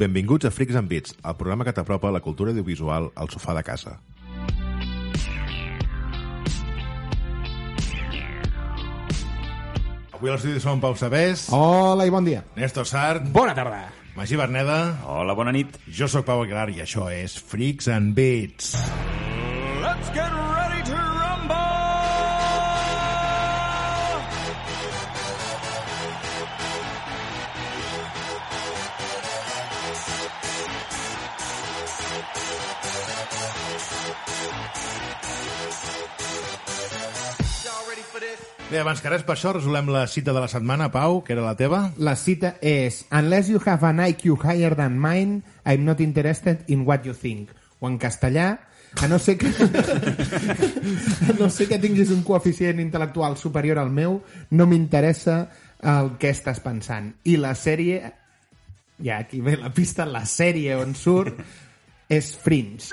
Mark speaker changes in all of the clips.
Speaker 1: Benvinguts a Freaks and Beats, el programa que t'apropa la cultura audiovisual al sofà de casa. Avui a l'estudi som Pau Sabés,
Speaker 2: Hola i bon dia.
Speaker 1: Néstor Sart,
Speaker 2: Oh. Bona tarda.
Speaker 1: Magí Berneda,
Speaker 3: Hola, bona nit.
Speaker 1: jo sóc Pau Aguilar i això és Freaks and Beats.
Speaker 3: Let's get ready to rumble!
Speaker 1: Bé, abans que res, per això resolem la cita de la setmana, Pau, que era la teva.
Speaker 2: La cita és Unless you have an IQ higher than mine, I'm not interested in what you think. O en castellà, a no ser que, a no ser que tinguis un coeficient intel·lectual superior al meu, no m'interessa el que estàs pensant. I la sèrie, ja aquí ve la pista, la sèrie on surt és Fringe.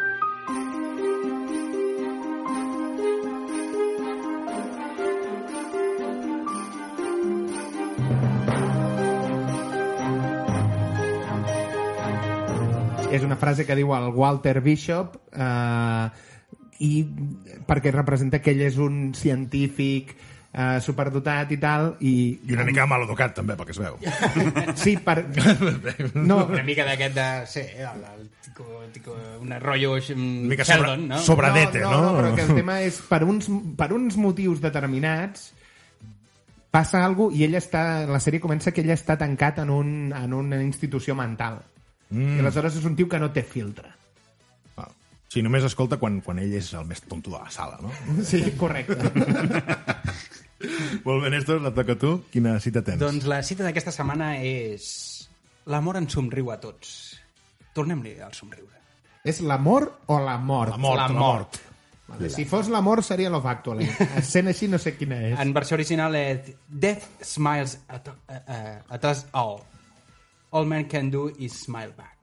Speaker 2: és una frase que diu el Walter Bishop eh, i perquè representa que ell és un científic eh, superdotat i tal i,
Speaker 1: I una mica maleducat, també, pel que es veu.
Speaker 2: sí, per... no,
Speaker 4: una mica d'aquest de... Sí, el, el tico, tico, un rotllo mm,
Speaker 1: Una mica sobre,
Speaker 4: Sheldon, no?
Speaker 1: sobradete, no?
Speaker 2: no, no, però que el tema és per uns, per uns motius determinats passa alguna i ell està, la sèrie comença que ell està tancat en, un, en una institució mental. Mm. I aleshores és un tio que no té filtre.
Speaker 1: Ah. Sí, només escolta quan, quan ell és el més tonto de la sala, no?
Speaker 2: Sí, correcte.
Speaker 1: Molt bé, Néstor, la toca a tu. Quina cita tens?
Speaker 4: Doncs la cita d'aquesta setmana és... L'amor ens somriu a tots. Tornem-li al somriure.
Speaker 2: És l'amor o la mort?
Speaker 1: La mort,
Speaker 4: la
Speaker 1: la mort.
Speaker 4: mort.
Speaker 2: Vale, si fos l'amor seria Love Actually. Sent així no sé quina és.
Speaker 4: En versió original és Death smiles at, uh, uh, at us all. All man can do is smile back.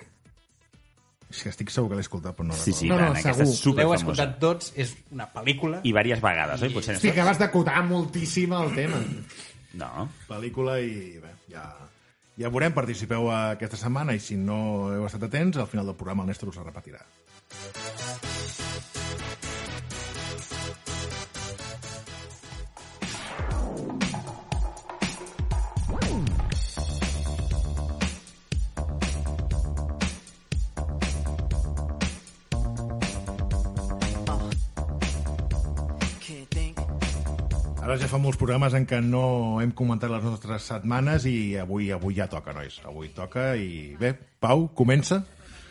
Speaker 1: Sí, estic segur que l'he escoltat, però no
Speaker 3: Sí, sí,
Speaker 2: No,
Speaker 3: no,
Speaker 2: no,
Speaker 3: no, aquesta és
Speaker 2: segur.
Speaker 4: L'heu
Speaker 3: superfamosa.
Speaker 4: escoltat tots, és una pel·lícula.
Speaker 3: I diverses vegades, oi? Potser
Speaker 2: Hosti,
Speaker 3: no.
Speaker 2: acabes d'acotar moltíssim el tema.
Speaker 3: No.
Speaker 1: Pel·lícula i bé, ja... Ja veurem, participeu eh, aquesta setmana i si no heu estat atents, al final del programa el Néstor us la repetirà.
Speaker 5: Can't think.
Speaker 1: Ara ja fa molts programes en què no hem comentat les nostres setmanes i avui avui ja toca, nois. Avui toca i bé, Pau, comença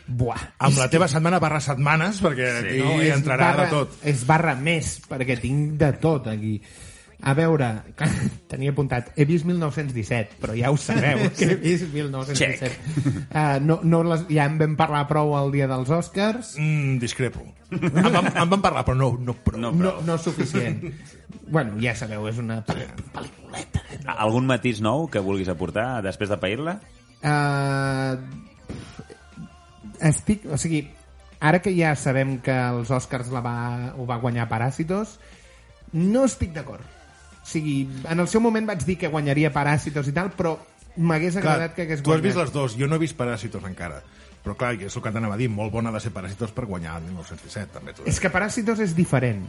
Speaker 2: Buah.
Speaker 1: amb la teva setmana barra setmanes, perquè sí, aquí no,
Speaker 2: és
Speaker 1: entrarà
Speaker 2: barra,
Speaker 1: de tot.
Speaker 2: És barra més, perquè tinc de tot aquí. A veure, tenia apuntat, he vist 1917, però ja ho sabeu, que he vist 1917. Uh, no, no les, ja en vam parlar prou el dia dels Oscars,
Speaker 1: Mm, discrepo. em, van, em van parlar, però no, no prou.
Speaker 3: No,
Speaker 2: no,
Speaker 3: però...
Speaker 2: no suficient. bueno, ja sabeu, és una pel·lículeta.
Speaker 3: Algun matís nou que vulguis aportar després de pair-la?
Speaker 2: Uh, estic, o sigui, ara que ja sabem que els Oscars la va, ho va guanyar Paràsitos, no estic d'acord. O sigui, en el seu moment vaig dir que guanyaria Paràsitos i tal, però m'hagués agradat que hagués
Speaker 1: tu has
Speaker 2: guanyat.
Speaker 1: vist les dues, jo no he vist Paràsitos encara. Però clar, és el que t'anava a dir, molt bona ha de ser Paràsitos per guanyar el 1917, també. t'ho dic.
Speaker 2: És que Paràsitos és diferent.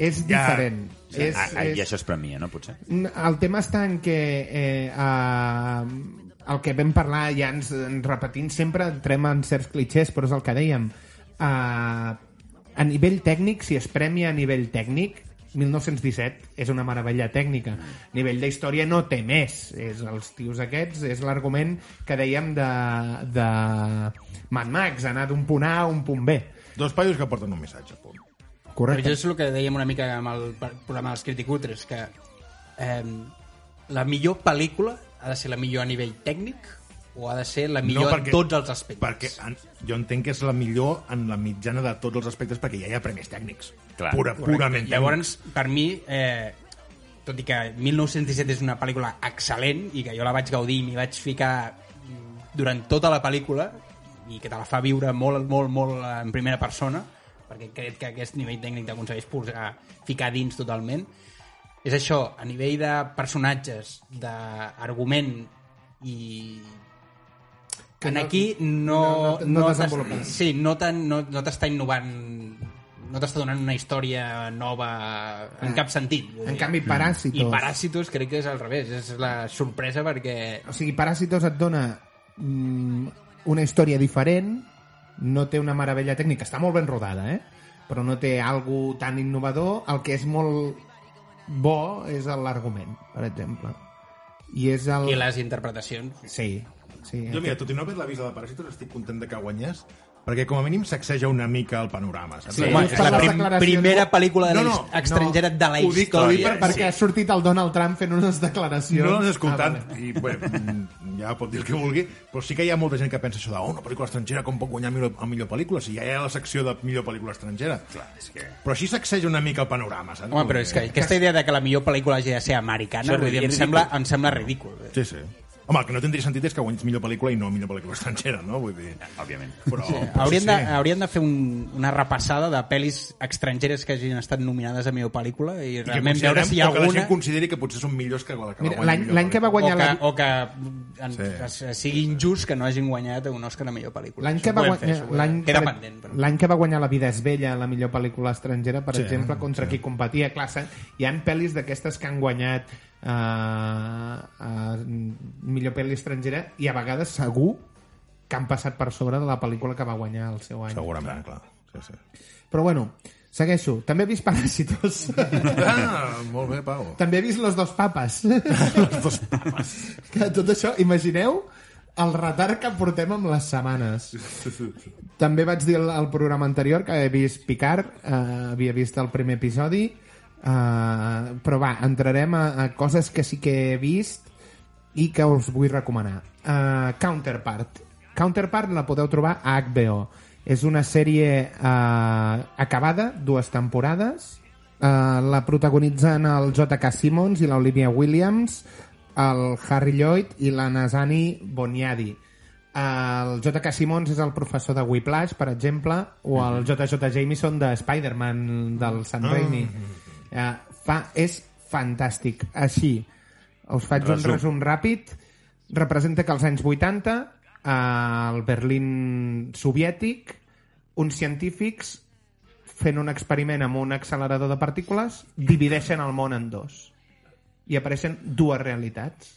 Speaker 2: És
Speaker 1: Ja.
Speaker 2: diferent.
Speaker 3: És,
Speaker 2: és,
Speaker 3: ah, ah, I això es premia, no? Potser.
Speaker 2: El tema està en que eh, eh, el que vam parlar ja ens, ens repetint sempre entrem en certs clichés, però és el que dèiem. Eh, a nivell tècnic, si es premia a nivell tècnic, 1917 és una meravella tècnica. A nivell d'història no té més. És els tios aquests, és l'argument que dèiem de, de Mad Max, anar d'un punt A a un punt B.
Speaker 1: Dos paios que porten un missatge, punt.
Speaker 2: Correcte.
Speaker 4: Però jo és el que dèiem una mica amb el par- programa dels Criticutres, que eh, la millor pel·lícula ha de ser la millor a nivell tècnic o ha de ser la millor no, perquè, en tots els aspectes.
Speaker 1: Perquè en, jo entenc que és la millor en la mitjana de tots els aspectes perquè ja hi ha premis tècnics.
Speaker 3: Clar.
Speaker 1: Pura, purament tècnics.
Speaker 4: Llavors, per mi, eh, tot i que 1917 és una pel·lícula excel·lent i que jo la vaig gaudir i m'hi vaig ficar mm, durant tota la pel·lícula i que te la fa viure molt, molt, molt en primera persona perquè crec que aquest nivell tècnic t'aconsegueix posar, ficar dins totalment és això, a nivell de personatges d'argument i
Speaker 2: Que
Speaker 4: en
Speaker 2: no-
Speaker 4: aquí
Speaker 2: no-
Speaker 4: no...
Speaker 2: no- no
Speaker 4: t'es-
Speaker 2: desenvolupen.
Speaker 4: Sí, no t'han- no no t'està innovant no t'està donant una història nova en
Speaker 1: Mm.
Speaker 2: Ah.
Speaker 4: cap sentit. vull
Speaker 2: En
Speaker 4: dir.
Speaker 2: canvi, Paràsitos...
Speaker 4: I Paràsitos crec que és al revés, és la sorpresa perquè...
Speaker 2: O sigui, Paràsitos et dona mm, una història diferent, no té una meravella tècnica, està molt ben rodada, eh? però no té algo tan innovador. El que és molt bo és l'argument, per exemple. I és
Speaker 1: Oh.
Speaker 2: el...
Speaker 4: I les interpretacions.
Speaker 2: Sí, sí.
Speaker 1: Jo, mira, tot i no haver-la vist a la Paràsitos, estic content de que guanyés, perquè com a mínim sacseja una mica el panorama, saps?
Speaker 4: Sí,
Speaker 2: home,
Speaker 4: és
Speaker 2: per
Speaker 4: la
Speaker 2: les
Speaker 4: prim
Speaker 2: declaracions-
Speaker 4: primera pel·lícula de
Speaker 1: No,
Speaker 4: no,
Speaker 1: no,
Speaker 4: no, estrangera de la
Speaker 1: ho dic, ho dic
Speaker 4: història.
Speaker 1: per-
Speaker 2: Perquè ha sortit el Donald Trump fent unes declaracions.
Speaker 1: No l'has escoltat,
Speaker 2: Ah, vale.
Speaker 1: i bé, mm, ja pot dir el que vulgui, però sí que hi ha molta gent que pensa això de oh, una pel·lícula estrangera, com pot guanyar millor, a millor pel·lícula, si ja hi ha la secció de millor pel·lícula estrangera. Clar, és que... Però així sacseja una mica el panorama, saps?
Speaker 4: Home, però és que aquesta idea de que la millor pel·lícula hagi de ser
Speaker 3: Això
Speaker 4: americana,
Speaker 3: és
Speaker 4: vull dir, em
Speaker 3: ridícul.
Speaker 4: sembla, em sembla ridícul.
Speaker 1: Sí, sí. Home, el que no tindria sentit és que guanyis millor pel·lícula i no millor pel·lícula estrangera, no? Vull dir...
Speaker 3: Òbviament.
Speaker 1: Però, sí, però
Speaker 4: Hauríem,
Speaker 1: sí,
Speaker 4: de,
Speaker 1: sí.
Speaker 4: hauríem de fer un, una repassada de pel·lis estrangeres que hagin estat nominades a millor pel·lícula i
Speaker 1: I que
Speaker 4: realment veure
Speaker 1: considerem-
Speaker 4: si hi ha
Speaker 1: o que la
Speaker 4: alguna...
Speaker 1: gent consideri que potser són millors que la que
Speaker 2: Mira,
Speaker 1: va guanyar
Speaker 2: l'any-
Speaker 1: millor
Speaker 2: l'any que va
Speaker 1: pel·lícula.
Speaker 4: O
Speaker 2: guanyar
Speaker 4: que,
Speaker 2: la-
Speaker 4: o que en,
Speaker 1: Sí.
Speaker 4: es- sigui injust que no hagin guanyat un Òscar a millor pel·lícula.
Speaker 2: L'any
Speaker 4: Això
Speaker 2: que,
Speaker 4: ho
Speaker 2: va
Speaker 4: podem
Speaker 2: guanyar,
Speaker 4: fer, això ho
Speaker 2: l'any,
Speaker 4: podem- Queda pendent,
Speaker 2: per,
Speaker 4: però...
Speaker 2: l'any que va guanyar La vida és vella, la millor pel·lícula estrangera, per
Speaker 1: Sí,
Speaker 2: sí, exemple, contra sí. qui competia, clar, s'han- hi han pel·lis d'aquestes que han guanyat eh, eh, millor pel·li estrangera i a vegades segur que han passat per sobre de la pel·lícula que va guanyar el seu any.
Speaker 1: Segurament, clar. Sí, sí.
Speaker 2: Però bueno, segueixo. També he vist Paràsitos.
Speaker 1: Ah, molt bé, Pau.
Speaker 2: També he vist Los dos papes. Los dos papes. Que tot això, imagineu el retard que portem amb les setmanes. També vaig dir al- al programa anterior que he vist Picard, eh, havia vist el primer episodi, eh, però va, entrarem a, a coses que sí que he vist i que us vull recomanar. Eh, Counterpart. Counterpart la podeu trobar a HBO. És una sèrie eh, acabada, dues temporades. Eh, la protagonitzen el J.K. Simmons i l'Olivia Williams, el Harry Lloyd i la Nazani Boniadi. Eh, El J.K. Simmons és el professor de Whiplash, per exemple, o el J.J. Jameson de Spider-Man del Sam Raimi. Eh, fa, és fantàstic. Així, us faig
Speaker 3: Resum.
Speaker 2: un resum ràpid. Representa que als anys 80, eh, al Berlín soviètic, uns científics fent un experiment amb un accelerador de partícules divideixen el món en dos. I apareixen dues realitats.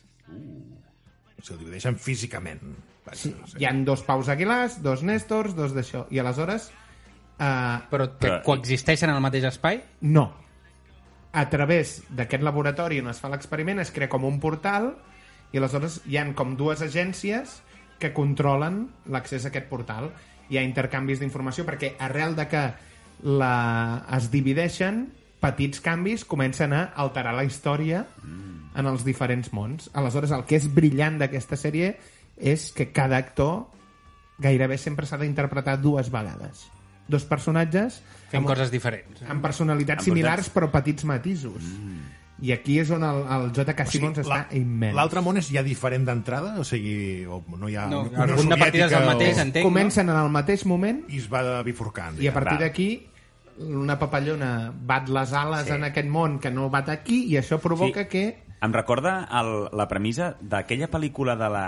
Speaker 1: Si ho divideixen físicament. Vaja,
Speaker 2: Sí,
Speaker 1: no sé.
Speaker 2: hi han dos Paus Aguilars, dos Nèstors, dos d'això. I aleshores... Eh,
Speaker 4: Però que
Speaker 3: Però-
Speaker 4: coexisteixen en el mateix espai?
Speaker 2: no. A través d'aquest laboratori on es fa l'experiment es crea com un portal i aleshores hi han com dues agències que controlen l'accés a aquest portal. Hi ha intercanvis d'informació perquè arrel de que la... es divideixen, petits canvis comencen a alterar la història en els diferents mons. Aleshores, el que és brillant d'aquesta sèrie és que cada actor gairebé sempre s'ha d'interpretar dues vegades. Dos personatges
Speaker 4: Fent
Speaker 2: amb-
Speaker 4: coses diferents.
Speaker 2: amb personalitats
Speaker 3: Amb Mm.
Speaker 2: similars però petits matisos. I aquí és on el, el J.K. Simmons
Speaker 1: Sí,
Speaker 2: està
Speaker 1: la-
Speaker 2: immens.
Speaker 1: L'altre món és ja diferent d'entrada? O sigui, o no hi ha...
Speaker 4: No,
Speaker 1: Unió
Speaker 4: el punt de partida és
Speaker 1: Soviètica
Speaker 4: el mateix,
Speaker 1: o-
Speaker 4: entenc,
Speaker 2: Comencen en el mateix moment
Speaker 1: I es va bifurcant.
Speaker 2: i a partir
Speaker 3: Val.
Speaker 2: d'aquí una papallona bat les ales en aquest món que no bat aquí i això provoca
Speaker 3: Sí.
Speaker 2: que...
Speaker 3: Em recorda el, la premissa d'aquella pel·lícula de la...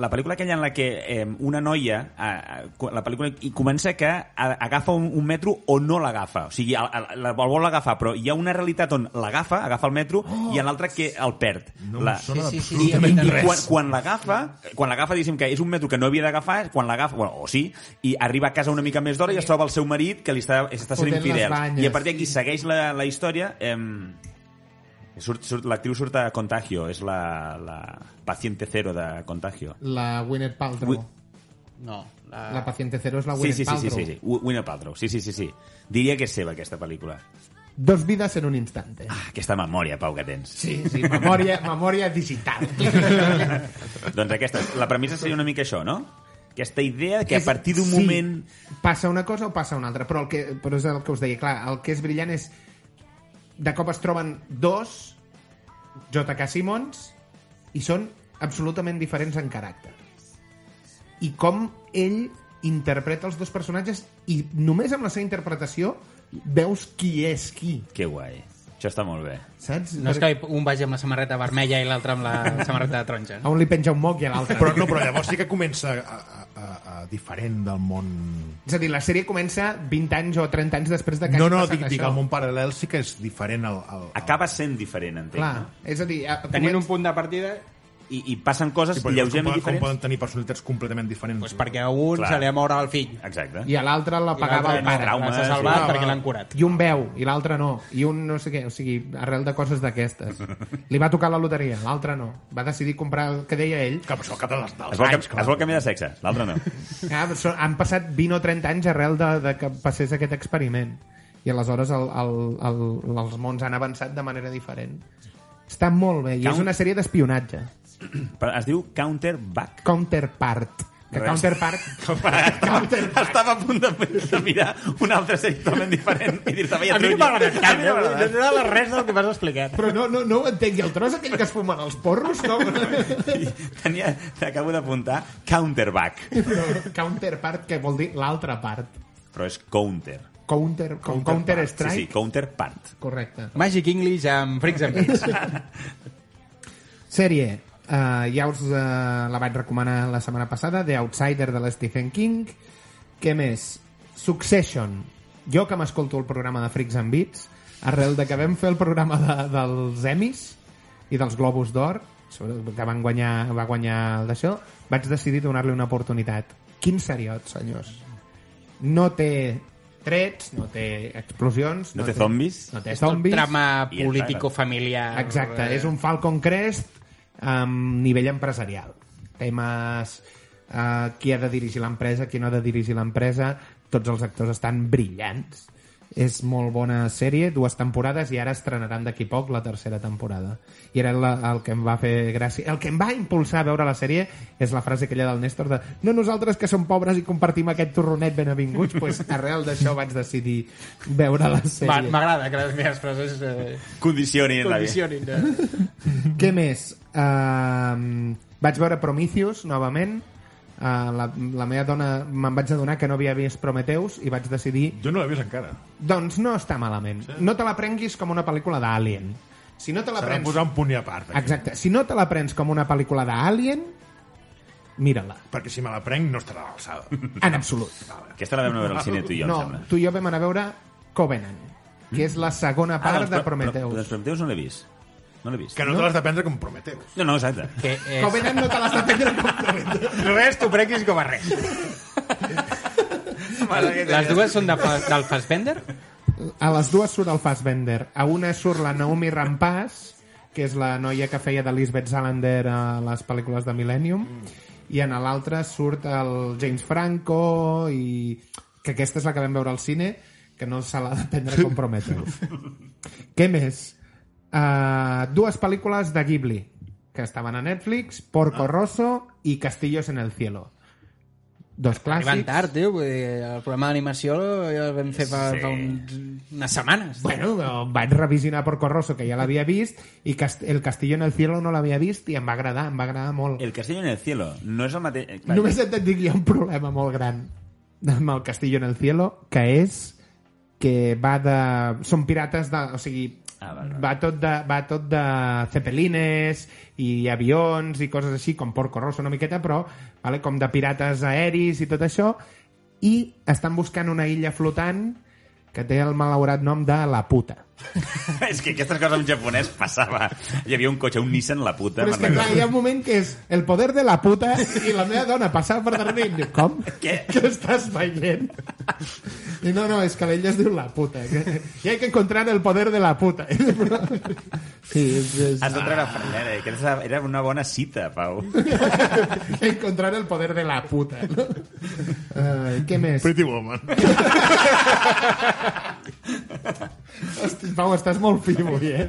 Speaker 3: La pel·lícula aquella en la que eh, una noia, eh, eh, la pel·lícula i comença que a- agafa un, un metro o no l'agafa. O sigui, el, el, el vol agafar, però hi ha una realitat on l'agafa, agafa el metro, oh. i en l'altra que el perd.
Speaker 1: No
Speaker 3: la...
Speaker 1: em sona
Speaker 4: Sí, sí, sí,
Speaker 1: absolutament
Speaker 4: sí, sí, sí.
Speaker 1: res.
Speaker 3: Quan, quan l'agafa, quan l'agafa, diguéssim que és un metro que no havia d'agafar, quan l'agafa, bueno, o sí, i arriba a casa una mica més d'hora i es troba el seu marit que li està, està sent
Speaker 2: Fotent les
Speaker 3: infidel.
Speaker 2: banyes.
Speaker 3: I a partir d'aquí segueix la, la història... Eh, Surt, surt, L'actriu surt a Contagio, és la, la paciente cero de Contagio.
Speaker 2: La Gwyneth Paltrow.
Speaker 3: Ui.
Speaker 4: No. La,
Speaker 2: La paciente cero és la
Speaker 3: Sí,
Speaker 2: Gwyneth
Speaker 3: sí, sí, sí,
Speaker 2: Paltrow.
Speaker 3: sí, sí. Wi- Gwyneth Paltrow, sí, sí, sí, sí. Diria que és seva, aquesta pel·lícula.
Speaker 2: Dos vides en un instante.
Speaker 3: Ah, Aquesta memòria, Pau, que tens.
Speaker 2: Sí, sí, memòria, memòria digital.
Speaker 3: doncs aquesta, la premissa seria una mica això, no? Aquesta idea que a
Speaker 2: És-
Speaker 3: partir d'un moment...
Speaker 2: passa una cosa o passa una altra però, el que, però és el que us deia, clar, el que és brillant és de cop es troben dos J.K. Simmons i són absolutament diferents en caràcter i com ell interpreta els dos personatges i només amb la seva interpretació veus qui és qui
Speaker 3: Que guai. Això està molt bé.
Speaker 2: saps?
Speaker 4: No és que un vagi amb la samarreta vermella i l'altre amb la samarreta taronja.
Speaker 2: A un li penja un moc i a l'altre.
Speaker 1: Però, no, però llavors sí que comença a, a, a, a diferent del món...
Speaker 2: És a dir, la sèrie comença 20 anys o 30 anys després de que
Speaker 1: No,
Speaker 2: hagi
Speaker 1: no,
Speaker 2: passat
Speaker 1: dic, dic,
Speaker 2: això.
Speaker 1: el món paral·lel sí que és diferent al... al, al...
Speaker 3: Acaba sent diferent, entenc.
Speaker 2: Clar,
Speaker 3: no?
Speaker 2: és a dir... a-
Speaker 4: Tenint
Speaker 2: comença-
Speaker 4: un punt de partida,
Speaker 3: I, I passen coses
Speaker 1: Sí,
Speaker 3: sí,
Speaker 1: però llavors com, poden,
Speaker 3: lleugerament
Speaker 1: com
Speaker 3: diferents.
Speaker 1: poden tenir personalitats completament diferents?
Speaker 4: doncs perquè a un
Speaker 3: Clar.
Speaker 4: se li ha mort el fill.
Speaker 3: Exacte.
Speaker 2: I a l'altre la
Speaker 4: I
Speaker 2: pagava
Speaker 4: l'altre
Speaker 2: el
Speaker 4: no,
Speaker 2: pare.
Speaker 3: Traumes,
Speaker 4: S'ha salvat
Speaker 1: sí.
Speaker 4: perquè l'han curat.
Speaker 2: I un veu, i l'altre no. I un no sé què, o sigui, arrel de coses d'aquestes. Li va tocar la loteria, l'altre no. Va decidir comprar el que deia ell.
Speaker 1: Que això cap dels, dels
Speaker 3: Es vol,
Speaker 1: anys,
Speaker 3: que, es vol canviar de sexe, l'altre no.
Speaker 2: Ah, so- han passat 20 o 30 anys arrel de, de que passés aquest experiment. I aleshores el, el, el, els mons han avançat de manera diferent. Està molt bé, i
Speaker 3: Count-
Speaker 2: és una sèrie d'espionatge.
Speaker 3: Però es diu Counterback.
Speaker 2: Counterpart. Que
Speaker 3: Res.
Speaker 2: Counterpart...
Speaker 3: Estava a punt de, de mirar una altra sèrie totalment diferent i dir-te, veia,
Speaker 4: A mi no
Speaker 3: trunya.
Speaker 4: m'ha agradat cap,
Speaker 3: A mi no m'ha
Speaker 4: no m'ha
Speaker 3: agradat.
Speaker 4: agradat res del que m'has explicat.
Speaker 2: Però no, no, no ho entenc. I el tros aquell que es fumen els porros, no?
Speaker 3: Tenia, t'acabo d'apuntar, Counterback.
Speaker 2: Però counterpart, que vol dir l'altra part.
Speaker 3: Però és counter.
Speaker 2: Counter, com counter
Speaker 3: Sí, sí,
Speaker 2: strike.
Speaker 3: counterpart.
Speaker 2: Correcte.
Speaker 4: Magic English amb Freaks and Geeks.
Speaker 2: Sèrie. Uh, ja us uh, la vaig recomanar la setmana passada, The Outsider de l'Stephen King. Què més? Succession. Jo que m'escolto el programa de Freaks and Beats, arrel de que vam fer el programa de, dels Emmys i dels Globus d'Or, sobre- que van guanyar, va guanyar el d'això, vaig decidir donar-li una oportunitat. Quin seriot, senyors. No té trets, no té explosions...
Speaker 3: No té zombis.
Speaker 2: No té zombis.
Speaker 4: Trama
Speaker 3: I el
Speaker 4: político-familiar.
Speaker 2: Exacte,
Speaker 4: eh,
Speaker 2: és un Falcon Crest amb nivell empresarial. Temes eh, qui ha de dirigir l'empresa, qui no ha de dirigir l'empresa, tots els actors estan brillants. És molt bona sèrie, dues temporades i ara estrenaran d'aquí poc la tercera temporada. I era la, el que em va fer gràcia... El que em va impulsar a veure la sèrie és la frase aquella del Néstor de no nosaltres que som pobres i compartim aquest torronet benavinguts, doncs arrel d'això vaig decidir veure la sèrie.
Speaker 4: Ma- M'agrada que les meves frases eh,
Speaker 3: Condicionin la vida.
Speaker 4: condicionin. Eh?
Speaker 2: Què més? Uh, vaig veure Prometheus, novament. Uh, la, la meva dona me'n vaig adonar que no havia vist Prometheus i vaig decidir,
Speaker 1: Jo no l'he vist encara.
Speaker 2: doncs no està malament. No te la prenguis com una pel·lícula d'Alien. Si no te la
Speaker 1: S'ha de
Speaker 2: prens...
Speaker 1: posar un punt i a part. Aquí.
Speaker 2: Exacte. Si no te la prens com una pel·lícula d'Alien, mira-la.
Speaker 1: Perquè si me la prenc no estarà a l'alçada.
Speaker 2: En absolut.
Speaker 3: Aquesta la vam veure al cine tu i jo,
Speaker 2: no,
Speaker 3: em sembla.
Speaker 2: tu i jo vam anar a veure Covenant, que és la segona part
Speaker 3: doncs,
Speaker 2: de
Speaker 3: però- Però,
Speaker 2: Prometheus.
Speaker 3: doncs Prometheus no l'he vist. No l'he vist.
Speaker 1: Que no, te l'has de prendre com Prometeus.
Speaker 3: No, no, exacte.
Speaker 4: Que és...
Speaker 2: Covenant no te l'has de prendre com Prometheus.
Speaker 4: Res t'ho prenguis com a res. Les dues són de, fa- del Fassbender?
Speaker 2: a les dues surt el Fassbender. A una surt la Naomi Rampaz, que és la noia que feia de Lisbeth Salander a les pel·lícules de Millennium, i en l'altra surt el James Franco, i que aquesta és la que vam veure al cine, que no se l'ha de prendre com Prometheus. Què més? Uh, dues pel·lícules de Ghibli, que estaven a Netflix, Porco Rosso i Castillos en el Cielo. Dos clàssics.
Speaker 4: Arriben tard, tio. vull dir, El programa d'animació ja el vam fer fa,
Speaker 3: Sí.
Speaker 4: fa uns, unes setmanes.
Speaker 2: Bueno, vaig revisinar Porco Rosso, que ja l'havia vist, i Cast El Castillo en el Cielo no l'havia vist i em va agradar, em va agradar molt. El...
Speaker 3: El Castillo en el cielo no és el mateix... eh, clar,
Speaker 2: Només et dic, hi ha un problema molt gran amb El Castillo en el Cielo, que és que va de... Són pirates de... O sigui,
Speaker 3: Ah, val, val.
Speaker 2: va tot de, va tot de cepelines i avions i coses així, com Porco Rosso una miqueta, però vale, com de pirates aeris i tot això, i estan buscant una illa flotant que té el malaurat nom de La Puta.
Speaker 3: és que aquestes coses en japonès passava. Hi havia un cotxe, un Nissan, la puta.
Speaker 2: Però és que
Speaker 3: me'n
Speaker 2: clar, hi ha un moment que és el poder de la puta i la meva dona passava per darrere i diu, com?
Speaker 3: Què?
Speaker 2: Què estàs veient? I no, no, és que l'ella es diu la puta. Que, I hay que encontrar el poder de la puta. Sí, és, és,
Speaker 3: Has de treure Fernández. Aquesta era una bona cita, Pau.
Speaker 2: encontrar el poder de la puta. No? Uh, què més?
Speaker 1: Pretty Woman.
Speaker 2: Hosti, Pau, estàs molt fi avui, eh?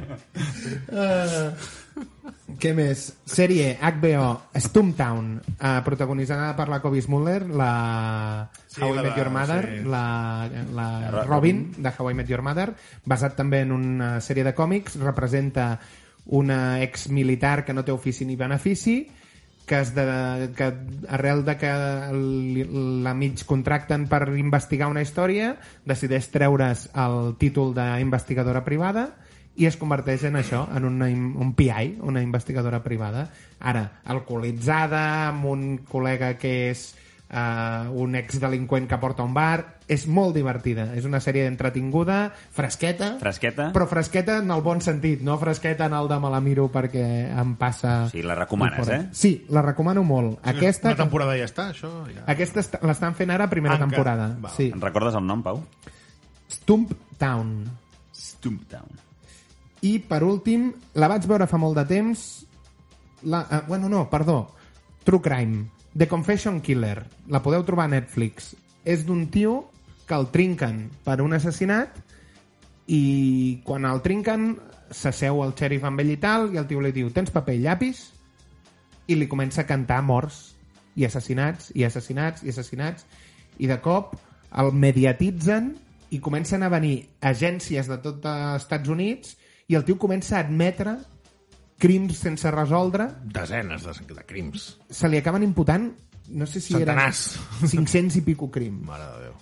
Speaker 2: Uh, què més? Sèrie HBO, Stumptown, uh, protagonitzada per la Kobe Smuller, la
Speaker 1: Sí,
Speaker 2: How
Speaker 1: la
Speaker 2: I Met
Speaker 1: de-
Speaker 2: Your Mother,
Speaker 1: sí.
Speaker 2: la, la Robin, de How I Met Your Mother, basat també en una sèrie de còmics, representa una exmilitar que no té ofici ni benefici, que, es de, que arrel de que li- la mig contracten per investigar una història, decideix treure's el títol d'investigadora privada i es converteix en això, en una, im- un PI, una investigadora privada, ara alcoholitzada, amb un col·lega que és eh, un exdelinqüent que porta a un bar. És molt divertida, és una sèrie entretinguda, fresqueta,
Speaker 3: Fresqueta.
Speaker 2: però fresqueta en el bon sentit, no fresqueta en el de me la miro perquè em passa...
Speaker 3: Sí, la recomanes,
Speaker 2: fora.
Speaker 3: eh?
Speaker 2: Sí, la recomano molt. Aquesta,
Speaker 1: Una temporada ja està, això. Ja.
Speaker 2: aquesta est- l'estan fent ara primera
Speaker 1: Anca.
Speaker 2: temporada.
Speaker 1: Val.
Speaker 2: Sí.
Speaker 3: En recordes el nom, Pau?
Speaker 2: Stump Town.
Speaker 3: Stumptown.
Speaker 2: I, per últim, la vaig veure fa molt de temps... La, eh, bueno, no, perdó. True Crime. The Confession Killer. La podeu trobar a Netflix. És d'un tio que el trinquen per un assassinat i quan el trinquen s'asseu el xèrif amb ell i tal i el tio li diu, tens paper i llapis? i li comença a cantar morts i assassinats, i assassinats, i assassinats, i de cop el mediatitzen i comencen a venir agències de tot eh, Estats Units i el tio comença a admetre crims sense resoldre,
Speaker 1: Desenes de, de crims.
Speaker 2: se li acaben imputant no sé si
Speaker 1: Centenars.
Speaker 2: eren 500 i pico crims
Speaker 1: Mare de Déu.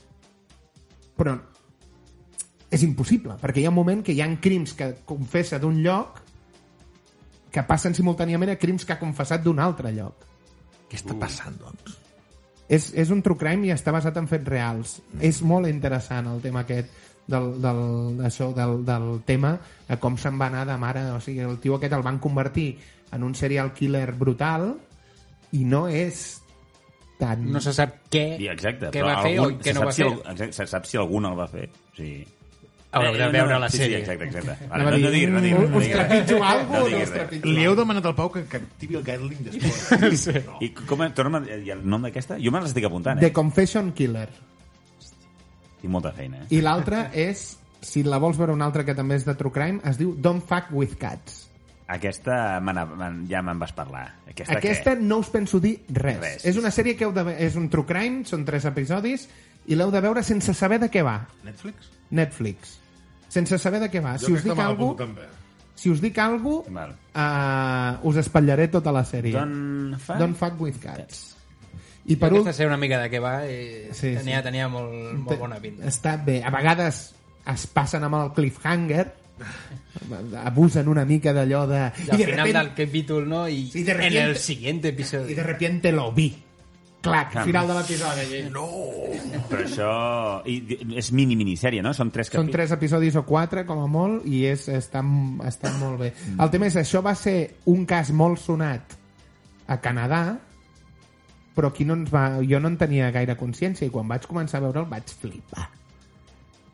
Speaker 2: però és impossible, perquè hi ha un moment que hi han crims que confessa d'un lloc que passen simultàniament a crims que ha confessat d'un altre lloc
Speaker 1: Què està passant, doncs?
Speaker 2: és, és un true crime i està basat en fets reals. És molt interessant el tema aquest del, del, això, del, del tema de com se'n va anar de mare. O sigui, el tio aquest el van convertir en un serial killer brutal i no és tan...
Speaker 4: No se sap què,
Speaker 3: Sí, exacte.
Speaker 4: què
Speaker 3: però
Speaker 4: va fer
Speaker 3: algun,
Speaker 4: o què
Speaker 3: se
Speaker 4: no
Speaker 3: sap
Speaker 4: va
Speaker 3: si
Speaker 4: fer.
Speaker 3: al- exacte, se sap si algun el va fer. Sí. Eh,
Speaker 4: Haureu de veure la
Speaker 3: sí,
Speaker 4: sèrie.
Speaker 3: Sí, exacte, exacte.
Speaker 2: Anava a
Speaker 3: Vale, no, no
Speaker 2: dir,
Speaker 3: diguis, no diguis. No
Speaker 2: us
Speaker 3: diguis.
Speaker 2: trepitjo alguna
Speaker 3: No
Speaker 2: cosa?
Speaker 3: diguis
Speaker 2: us
Speaker 3: res.
Speaker 2: trepitjo
Speaker 1: Li heu demanat al Pau que, que activi el Gatling després.
Speaker 4: Sí.
Speaker 3: I com, torna'm a dir el nom d'aquesta? Jo me l'estic apuntant,
Speaker 2: The
Speaker 3: eh?
Speaker 2: Confession Killer.
Speaker 3: Tinc molta feina, eh?
Speaker 2: I l'altra és, si la vols veure una altra que també és de True Crime, es diu Don't Fuck With Cats.
Speaker 3: Aquesta me n'ha- me- ja me'n vas parlar. Aquesta,
Speaker 2: Aquesta
Speaker 3: què?
Speaker 2: no us penso dir res.
Speaker 3: Res.
Speaker 2: res. És una sèrie que heu de... ve- És un true crime, són tres episodis, i l'heu de veure sense saber de què va.
Speaker 1: Netflix?
Speaker 2: Netflix. Sense saber de què va. si us dic algú,
Speaker 1: també.
Speaker 2: si us dic algú,
Speaker 3: Val.
Speaker 2: uh, us espatllaré tota la sèrie.
Speaker 3: Don't fuck-
Speaker 2: Don't fuck with cats. I per
Speaker 4: Per
Speaker 2: últim,
Speaker 4: Aquesta ser una mica de què va eh,
Speaker 2: Sí,
Speaker 4: sí, tenia,
Speaker 2: sí.
Speaker 4: sí. tenia molt, molt bona pinta.
Speaker 2: està bé. A vegades es passen amb el cliffhanger, abusen una mica d'allò de...
Speaker 4: I al final del capítol, no? I,
Speaker 2: I de
Speaker 4: en
Speaker 2: repente-
Speaker 4: el siguiente episodi.
Speaker 2: i de repente lo vi. Clac,
Speaker 3: Ah.
Speaker 2: final de l'episodi. No.
Speaker 3: Però això... I, di- és mini-minissèrie, no? Són tres
Speaker 2: Són
Speaker 3: capítols.
Speaker 2: tres episodis o quatre, com a molt, i és, està, està molt bé. El tema és, això va ser un cas molt sonat a Canadà, però aquí no ens va, jo no en tenia gaire consciència, i quan vaig començar a veure'l vaig flipar.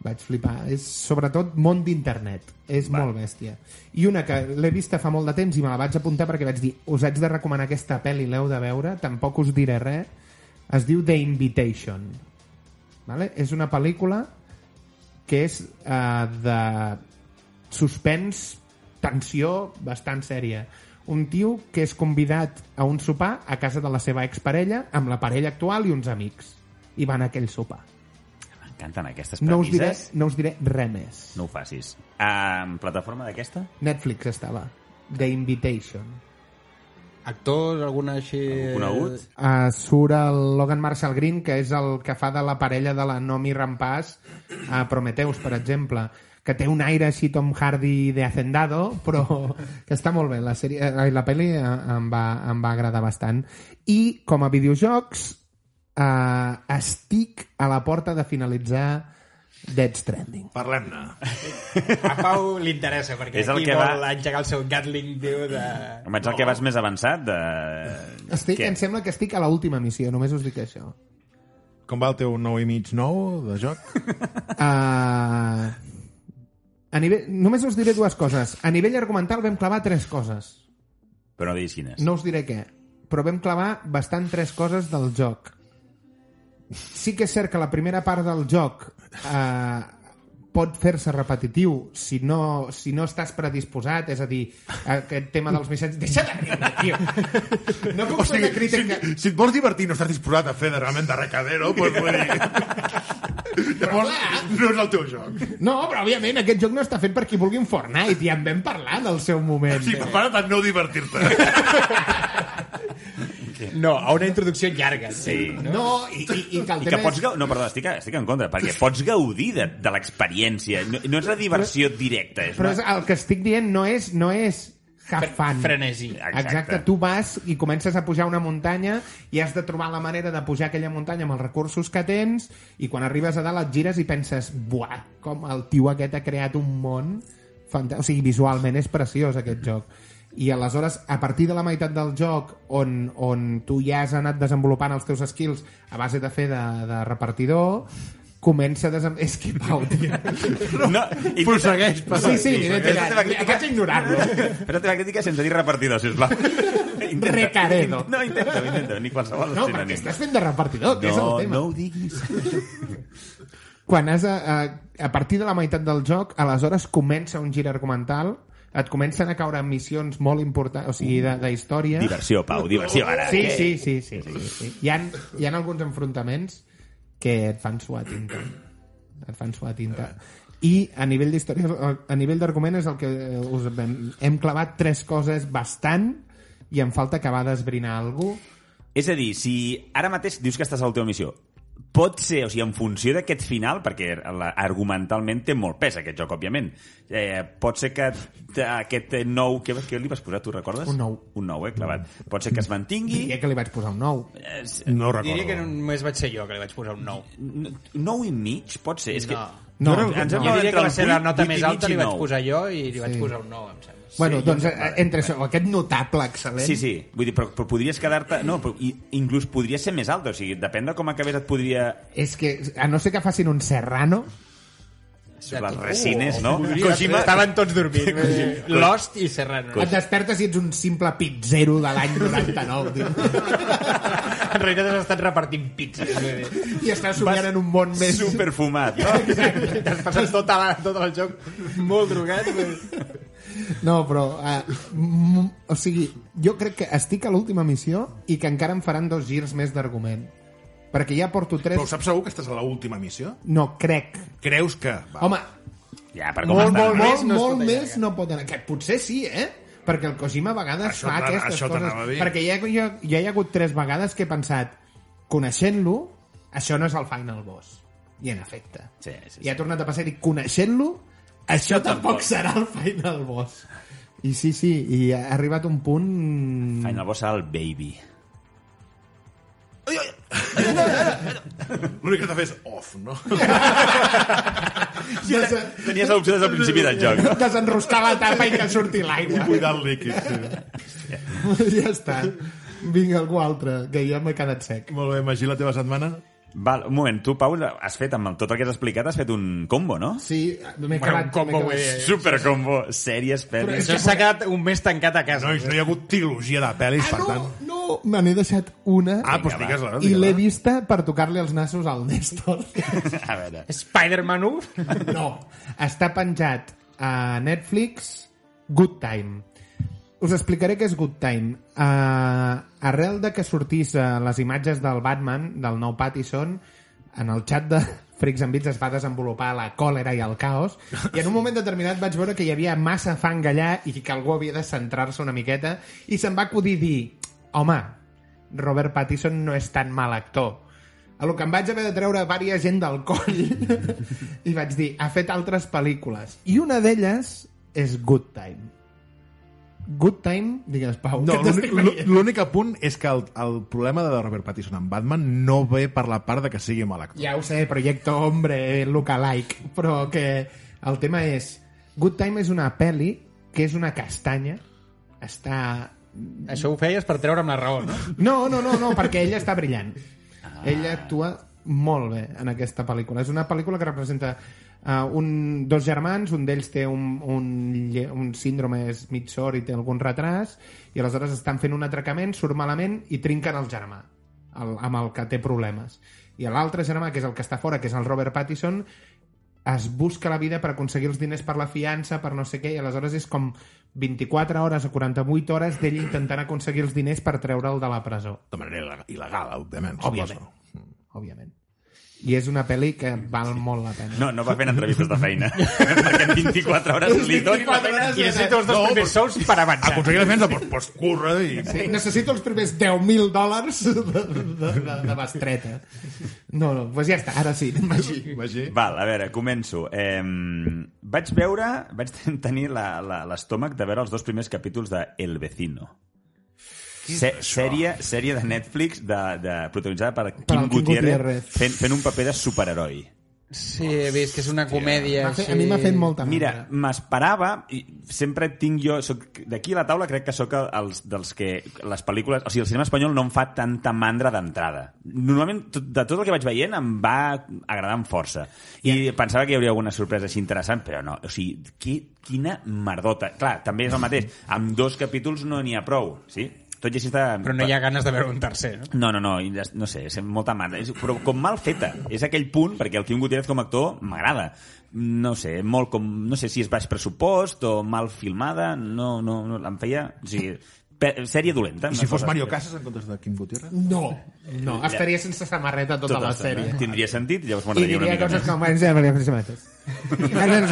Speaker 2: Vaig flipar. És, sobretot, món d'internet. És va. molt bèstia. I una que l'he vista fa molt de temps i me la vaig apuntar perquè vaig dir us haig de recomanar aquesta pel·li, l'heu de veure, tampoc us diré res. Es diu The Invitation. Vale? És una pel·lícula que és eh, de suspens, tensió bastant sèria. Un tio que és convidat a un sopar a casa de la seva exparella amb la parella actual i uns amics. I van a aquell sopar.
Speaker 3: M'encanten aquestes
Speaker 2: No us, diré,
Speaker 3: premisses.
Speaker 2: no us diré res més.
Speaker 3: No ho facis. Ah, En plataforma d'aquesta?
Speaker 2: Netflix estava. The Invitation.
Speaker 4: Actors, alguna així...
Speaker 3: Algú conegut?
Speaker 2: Uh, surt el Logan Marshall Green, que és el que fa de la parella de la Nomi Rampàs a Prometeus, per exemple que té un aire així Tom Hardy de Hacendado, però que està molt bé. La, sèrie, eh, la pel·li eh, em va, em va agradar bastant. I com a videojocs, eh, estic a la porta de finalitzar Dead Stranding.
Speaker 1: Parlem-ne.
Speaker 4: A Pau li interessa, perquè
Speaker 3: És el
Speaker 4: aquí
Speaker 3: que
Speaker 4: vol
Speaker 3: va-
Speaker 4: engegar el seu Gatling, diu, de...
Speaker 3: Home, ets el que vas més avançat de...
Speaker 2: Estic,
Speaker 3: Què?
Speaker 2: em sembla que estic a l'última missió, només us dic això.
Speaker 1: Com va el teu nou i mig nou de joc?
Speaker 2: Uh, a nivell, només us diré dues coses. A nivell argumental vam clavar tres coses.
Speaker 3: Però no diguis quines.
Speaker 2: No us diré què. Però vam clavar bastant tres coses del joc. Sí que és cert que la primera part del joc eh, pot fer-se repetitiu si no, si no estàs predisposat, és a dir, aquest tema dels missatges... Deixa de riure, tio! No puc fer una crítica...
Speaker 1: si et vols divertir i no estàs disposat a fer de realment de recadero, doncs vull dir... Llavors, no és el teu joc.
Speaker 2: No, però òbviament aquest joc no està fet per qui vulgui un Fortnite, i en vam parlar del seu moment.
Speaker 1: Sí, prepara't a no divertir-te.
Speaker 4: No, a una introducció llarga.
Speaker 3: Sí.
Speaker 2: No, i, i, i que el
Speaker 3: I
Speaker 2: tema
Speaker 3: que pots
Speaker 2: és...
Speaker 3: gaudir... No, perdó, estic, estic en contra, perquè pots gaudir de, de l'experiència. No, no és la diversió directa. És
Speaker 2: Però
Speaker 3: una...
Speaker 2: és, el que estic dient no és, no és have fun.
Speaker 4: Frenesí.
Speaker 2: Exacte. Exacte, tu vas i comences a pujar una muntanya i has de trobar la manera de pujar aquella muntanya amb els recursos que tens i quan arribes a dalt et gires i penses buah, com el tio aquest ha creat un món fantàstic, o sigui, visualment és preciós aquest joc i aleshores, a partir de la meitat del joc on, on tu ja has anat desenvolupant els teus skills a base de fer de, de repartidor comença a desem... És que, Pau, tio...
Speaker 3: No, i
Speaker 1: Prossegueix, passa.
Speaker 2: Sí, sí, he tirat. Vaig a ignorar-lo.
Speaker 3: Fes la teva crítica sense dir repartidor, sisplau. Intenta.
Speaker 2: Recaredo.
Speaker 3: No, intenta, intenta, ni qualsevol
Speaker 2: No,
Speaker 3: sinònim.
Speaker 2: perquè estàs fent de repartidor, que és el
Speaker 3: No,
Speaker 2: tema.
Speaker 3: no ho diguis.
Speaker 2: quan has a, a, a partir de la meitat del joc, aleshores comença un gir argumental, et comencen a caure missions molt importants, o sigui, de, de història.
Speaker 3: Diversió, Pau, diversió, ara.
Speaker 2: Sí, sí, sí, sí, sí, sí. Hi, ha, hi ha alguns enfrontaments que et fan suar tinta. Et fan suar tinta. I a nivell d'història, a nivell d'argument és el que eh, us hem, hem clavat tres coses bastant i em falta acabar d'esbrinar alguna cosa.
Speaker 3: És a dir, si ara mateix dius que estàs a la teva missió, pot ser, o sigui, en funció d'aquest final, perquè la- argumentalment té molt pes aquest joc, òbviament, eh, pot ser que t- aquest nou... Què, què li vas posar, tu recordes?
Speaker 2: Un nou.
Speaker 3: Un nou, eh, clavat. Pot ser que es mantingui...
Speaker 2: Diria que li vaig posar un nou.
Speaker 3: Eh, s-
Speaker 1: No ho
Speaker 4: Diria que
Speaker 1: recordo.
Speaker 4: només vaig ser jo que li vaig posar un 9.
Speaker 3: n- nou i mig, pot ser. És que...
Speaker 4: No.
Speaker 2: No,
Speaker 3: Jo
Speaker 2: no.
Speaker 3: ens hem
Speaker 4: Jo
Speaker 3: quedat entre
Speaker 4: diria que va
Speaker 3: el
Speaker 4: ser la
Speaker 3: vuit,
Speaker 4: nota
Speaker 3: vuit i
Speaker 4: més
Speaker 3: mig
Speaker 4: alta,
Speaker 3: i
Speaker 4: li vaig
Speaker 3: nou.
Speaker 4: posar jo i li vaig
Speaker 2: Sí.
Speaker 4: posar un 9, em sembla.
Speaker 2: Bueno, doncs, eh, entre això, aquest notable
Speaker 4: eh?
Speaker 2: excel·lent...
Speaker 3: Sí, sí, vull dir, però, però podries quedar-te... No, però, i, inclús podria ser més alta, o sigui, depèn de com acabés et podria...
Speaker 2: És que, a no ser que facin un serrano...
Speaker 4: De
Speaker 3: Les
Speaker 4: tot.
Speaker 3: resines, no?
Speaker 4: Uh, Podria ser. Estaven tots dormint. Lost i Serrano.
Speaker 2: Et despertes i ets un simple pizzero de l'any 99, tio.
Speaker 4: En realitat has estat repartint pizzas. vull dir.
Speaker 2: I estàs somiant en un món més...
Speaker 3: Superfumat, no?
Speaker 4: T'has passat tot, la, tot el joc molt drogat. vull dir.
Speaker 2: No, però... Uh, mm, o sigui, jo crec que estic a l'última missió i que encara em faran dos girs més d'argument. Perquè ja porto tres...
Speaker 1: Però ho saps segur que estàs a l'última missió?
Speaker 2: No, crec.
Speaker 1: Creus que... Va.
Speaker 2: Home,
Speaker 3: Ja, per com
Speaker 2: molt, molt,
Speaker 3: estan,
Speaker 2: molt,
Speaker 3: no?
Speaker 4: no es
Speaker 2: molt
Speaker 4: pot
Speaker 2: més no pot anar. Que potser sí, eh? Perquè el Kojima a vegades
Speaker 1: Això
Speaker 2: fa
Speaker 1: t'ana-
Speaker 2: aquestes
Speaker 1: això t'anava a
Speaker 2: coses.
Speaker 1: dir.
Speaker 2: Perquè ja, ja, ja hi ha hagut tres vegades que he pensat, coneixent-lo, això no és el final boss. I en efecte.
Speaker 3: Sí, sí,
Speaker 2: I ha tornat a passar i dic, coneixent-lo, això tampoc serà el final boss. I sí, sí, i ha arribat un punt...
Speaker 3: Final Boss serà el Baby.
Speaker 1: L'únic que t'ha fet és off, no?
Speaker 2: Desen...
Speaker 3: Tenies l'opció des del principi del joc, no?
Speaker 2: Desenroscar la tapa i que surti l'aigua.
Speaker 1: Cuidar el líquid. Sí.
Speaker 2: ja està. Vinga, algú altre, que ja m'he quedat sec.
Speaker 1: Molt bé, Magí, la teva setmana?
Speaker 3: Val, un moment, tu, Pau, has fet, amb tot el que has explicat, has fet un combo, no?
Speaker 2: Sí, m'he
Speaker 4: Bueno,
Speaker 2: acabat.
Speaker 4: un combo,
Speaker 2: m'he
Speaker 4: vull
Speaker 3: eh?
Speaker 2: acabat.
Speaker 4: dir.
Speaker 3: Supercombo, sèries, pel·lis...
Speaker 4: Això s'ha quedat un mes tancat a casa.
Speaker 1: Nois, no hi ha hagut trilogia de pel·lis, per
Speaker 2: Ah,
Speaker 1: tant...
Speaker 2: no, no, me n'he deixat una
Speaker 1: Ah,
Speaker 2: ah,
Speaker 1: doncs digues-la.
Speaker 2: i
Speaker 1: digues-la.
Speaker 2: l'he vista per tocar-li els nassos al Néstor.
Speaker 3: A veure...
Speaker 4: Spider-Man 1?
Speaker 2: no, està penjat a Netflix Good Time. Us explicaré què és Good Time. Uh, arrel de que sortís uh, les imatges del Batman, del nou Pattison, en el xat de Freaks and Bits es va desenvolupar la còlera i el caos, i en un moment determinat vaig veure que hi havia massa fang allà i que algú havia de centrar-se una miqueta, i se'm va acudir dir, home, Robert Pattinson no és tan mal actor. A lo que em vaig haver de treure vària gent del coll i vaig dir, ha fet altres pel·lícules. I una d'elles és Good Time. Good Time, digues, Pau.
Speaker 1: No,
Speaker 2: que
Speaker 1: l'únic-
Speaker 2: t'estic veient.
Speaker 1: l'únic punt és que el, el problema de Robert Pattinson en Batman no ve per la part de que sigui mal actor.
Speaker 2: Ja ho sé, Proyecto Hombre, Lookalike, però que el tema és... Good Time és una pel·li que és una castanya. Està...
Speaker 4: Això ho feies per treure'm la raó, no?
Speaker 2: No, no, no, no perquè ella està brillant. Ah. Ella actua molt bé en aquesta pel·lícula. És una pel·lícula que representa uh, un, dos germans, un d'ells té un, un, lle- un síndrome és mig sord i té algun retras, i aleshores estan fent un atracament, surt malament i trinquen el germà el, amb el que té problemes. I l'altre germà, que és el que està fora, que és el Robert Pattinson, es busca la vida per aconseguir els diners per la fiança, per no sé què, i aleshores és com 24 hores o 48 hores d'ell intentant aconseguir els diners per treure'l de la presó,
Speaker 1: De manera il·legal, òbviament.
Speaker 2: Òbviament.
Speaker 1: suposo.
Speaker 2: òbviament. I és una pel·li que val molt la pena.
Speaker 3: No, no va fent entrevistes de feina. perquè en 24 hores li dono...
Speaker 4: I necessito els dos
Speaker 1: No,
Speaker 4: primers sous per avançar.
Speaker 1: Aconseguir la feina, doncs, doncs curra i...
Speaker 2: Sí, necessito els primers 10.000 dòlars de, de, de, de bestreta. No, no, doncs ja està, ara sí, anem així.
Speaker 1: Vagi.
Speaker 3: Val, a veure, començo. Eh, vaig veure, vaig ten- tenir la- la- l'estómac de veure els dos primers capítols de El Vecino. Se, sèrie, sèrie de Netflix de, de, protagonitzada per Kim,
Speaker 2: Kim
Speaker 3: Gutiérrez,
Speaker 2: Gutiérrez.
Speaker 3: fent, fent un paper de superheroi.
Speaker 4: Sí, he vist que és una comèdia.
Speaker 2: M'ha Fet,
Speaker 4: sí.
Speaker 2: a mi m'ha fet molta
Speaker 3: Mira,
Speaker 2: mandra.
Speaker 4: eh?
Speaker 3: m'esperava, i sempre tinc jo, soc, d'aquí a la taula crec que sóc el- els, dels que les pel·lícules, o sigui, el cinema espanyol no em fa tanta mandra d'entrada. Normalment, tot, de tot el que vaig veient, em va agradar amb força. I pensava que hi hauria alguna sorpresa així interessant, però no. O sigui, qui, quina merdota. Clar, també és el mateix. Amb dos capítols no n'hi ha prou, sí? Tot i així està...
Speaker 4: Però no hi ha ganes de veure un tercer, no?
Speaker 3: No, no, no, i les- no sé, és molta mandra. És, però com mal feta. És aquell punt, perquè el Quim Gutiérrez com a actor m'agrada. No sé, molt com... No sé si és baix pressupost o mal filmada. No, no, no em feia... O sigui, pe- sèrie dolenta.
Speaker 1: I si fos Mario Casas en comptes de Kim Gutiérrez?
Speaker 2: No, no, estaria sense samarreta tota, la sèrie.
Speaker 3: Tindria sentit, llavors
Speaker 2: I
Speaker 3: m'agradaria una
Speaker 2: diria
Speaker 3: mica
Speaker 2: coses
Speaker 3: més.
Speaker 2: com... "Ens veurem, ens veurem, ens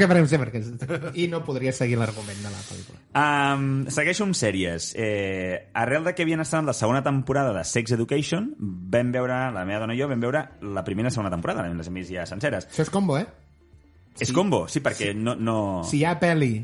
Speaker 2: veurem, ens veurem". I no podria seguir l'argument de la pel·lícula.
Speaker 3: Um, segueixo amb sèries. Eh, arrel de que havien estat en la segona temporada de Sex Education, vam veure, la meva dona i jo, vam veure la primera i la segona temporada, les hem vist ja senceres.
Speaker 2: Això és combo, eh?
Speaker 3: És combo, sí, perquè no... no...
Speaker 2: Si hi ha pel·li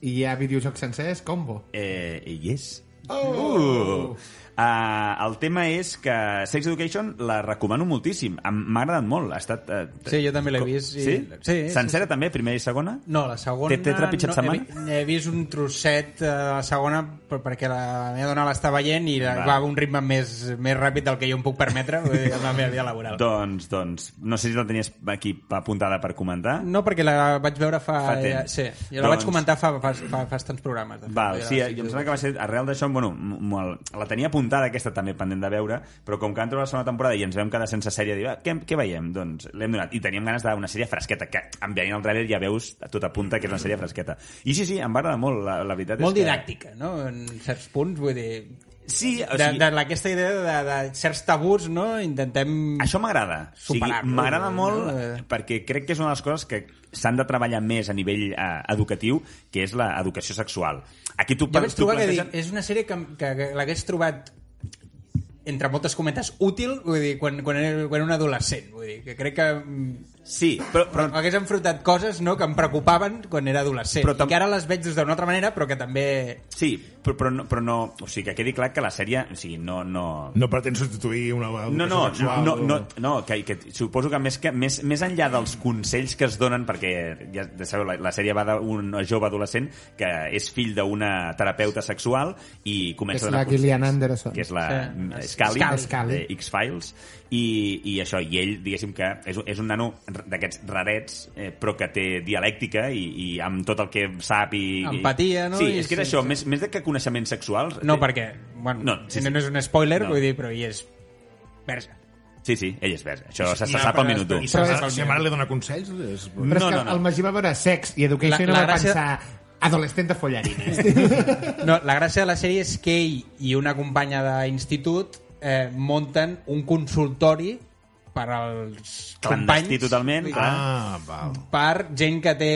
Speaker 2: i hi ha videojoc sencer, és combo.
Speaker 3: Eh, i és.
Speaker 2: Oh!
Speaker 3: Uh, el tema és que Sex Education la recomano moltíssim. Em- M'ha agradat molt. Ha estat, eh,
Speaker 4: Sí, jo també l'he
Speaker 3: co-
Speaker 4: vist i-
Speaker 3: Sí? sí,
Speaker 4: sí, sí,
Speaker 3: Sencera també, primera i segona?
Speaker 4: No, la segona...
Speaker 3: Té- té trepitjat
Speaker 4: no,
Speaker 3: setmana?
Speaker 4: He, vi- he vist un trosset eh, de la segona per, perquè la, meva dona l'està veient i la,
Speaker 3: Va.
Speaker 4: va a un ritme més, més ràpid del que jo em puc permetre vull dir, en la meva vida laboral.
Speaker 3: Doncs, doncs, no sé si la tenies aquí apuntada per comentar.
Speaker 4: No, perquè la vaig veure fa...
Speaker 3: Fa temps.
Speaker 4: Sí, jo la
Speaker 3: Doncs-
Speaker 4: vaig comentar fa, fa, fa, fa tants programes. de fet.
Speaker 3: Val,
Speaker 4: Jo
Speaker 3: sí,
Speaker 4: la-
Speaker 3: jo em sembla que va ser arrel d'això, bueno, m- molt, la tenia apuntada aquesta també pendent de veure, però com que vam trobar la segona temporada i ens vam quedar sense sèrie, dir, "Ah, què, què veiem? Doncs l'hem donat. I teníem ganes d'una sèrie fresqueta, que en veient el tràiler ja veus a tota punta que és una sèrie fresqueta. I sí, sí, em va agradar molt, la, la veritat
Speaker 4: Molt
Speaker 3: és
Speaker 4: didàctica, no?, en certs punts, vull dir...
Speaker 3: que... Sí, o
Speaker 4: De,
Speaker 3: sigui,
Speaker 4: de, aquesta idea de, de certs tabús, no?, intentem...
Speaker 3: Això m'agrada. O sigui,
Speaker 4: Superar-lo,
Speaker 3: m'agrada
Speaker 4: no?
Speaker 3: molt
Speaker 4: Eh.
Speaker 3: perquè crec que és una de les coses que s'han de treballar més a nivell eh, educatiu, que és l'educació sexual. Aquí tu,
Speaker 4: Jo vaig
Speaker 3: tu
Speaker 4: trobar que
Speaker 3: planteges-
Speaker 4: dic, eh. és una sèrie que, que, que l'hagués trobat entre moltes cometes útil, vull dir, quan, quan, era, quan era un adolescent, vull dir, que crec que mm,
Speaker 3: Sí, però, però
Speaker 4: m'hagués enfrontat coses no, que em preocupaven quan era adolescent,
Speaker 3: Però
Speaker 4: però
Speaker 3: tam-
Speaker 4: i que ara les veig des d'una altra manera, però que també...
Speaker 3: Sí, però, però, no, però no... O sigui, que quedi clar que la sèrie... O sigui, no... no...
Speaker 1: No pretén substituir una educació
Speaker 3: No, no,
Speaker 1: sexual
Speaker 3: no,
Speaker 1: o-
Speaker 3: no, no que, que suposo que més, que més, més enllà dels consells que es donen, perquè ja sabeu, la, la sèrie va d'un jove adolescent que és fill d'una terapeuta sexual i comença
Speaker 2: És
Speaker 3: a donar
Speaker 2: la Gillian
Speaker 3: consells,
Speaker 2: Anderson.
Speaker 3: Que és la
Speaker 4: Sí.
Speaker 3: sí. Scully,
Speaker 2: Scully.
Speaker 3: Scully. Eh, X-Files, i, i això, i ell, diguéssim que és, és un nano d'aquests rarets, eh, però que té dialèctica i, i amb tot el que sap i... i-
Speaker 4: Empatia, no?
Speaker 3: Sí,
Speaker 4: I
Speaker 3: és que és
Speaker 4: sí,
Speaker 3: això,
Speaker 4: sí.
Speaker 3: més, més de que coneixements sexuals...
Speaker 4: No, perquè, bueno, no, sí, sí. no és un spoiler,
Speaker 3: No.
Speaker 4: no. vull dir, però hi és verge.
Speaker 3: Sí, sí, ell és verge. Això se, se
Speaker 4: una
Speaker 3: sap al minut
Speaker 4: cosa
Speaker 3: 1.
Speaker 1: I si, la
Speaker 4: Però
Speaker 1: mare,
Speaker 4: és-
Speaker 1: si la mare li dona consells... És...
Speaker 2: Però
Speaker 3: No,
Speaker 2: és que
Speaker 3: no, no.
Speaker 2: el Magí va veure Sex i Education
Speaker 4: La-
Speaker 2: i no
Speaker 4: la
Speaker 2: va
Speaker 4: gràcia-
Speaker 2: pensar adolescent de eh?" follarines.
Speaker 4: No, la gràcia de la sèrie és que ell i una companya d'institut eh, munten un consultori per als
Speaker 3: Clandestí
Speaker 4: companys,
Speaker 3: totalment. clar.
Speaker 1: Ah, val.
Speaker 4: per gent que té...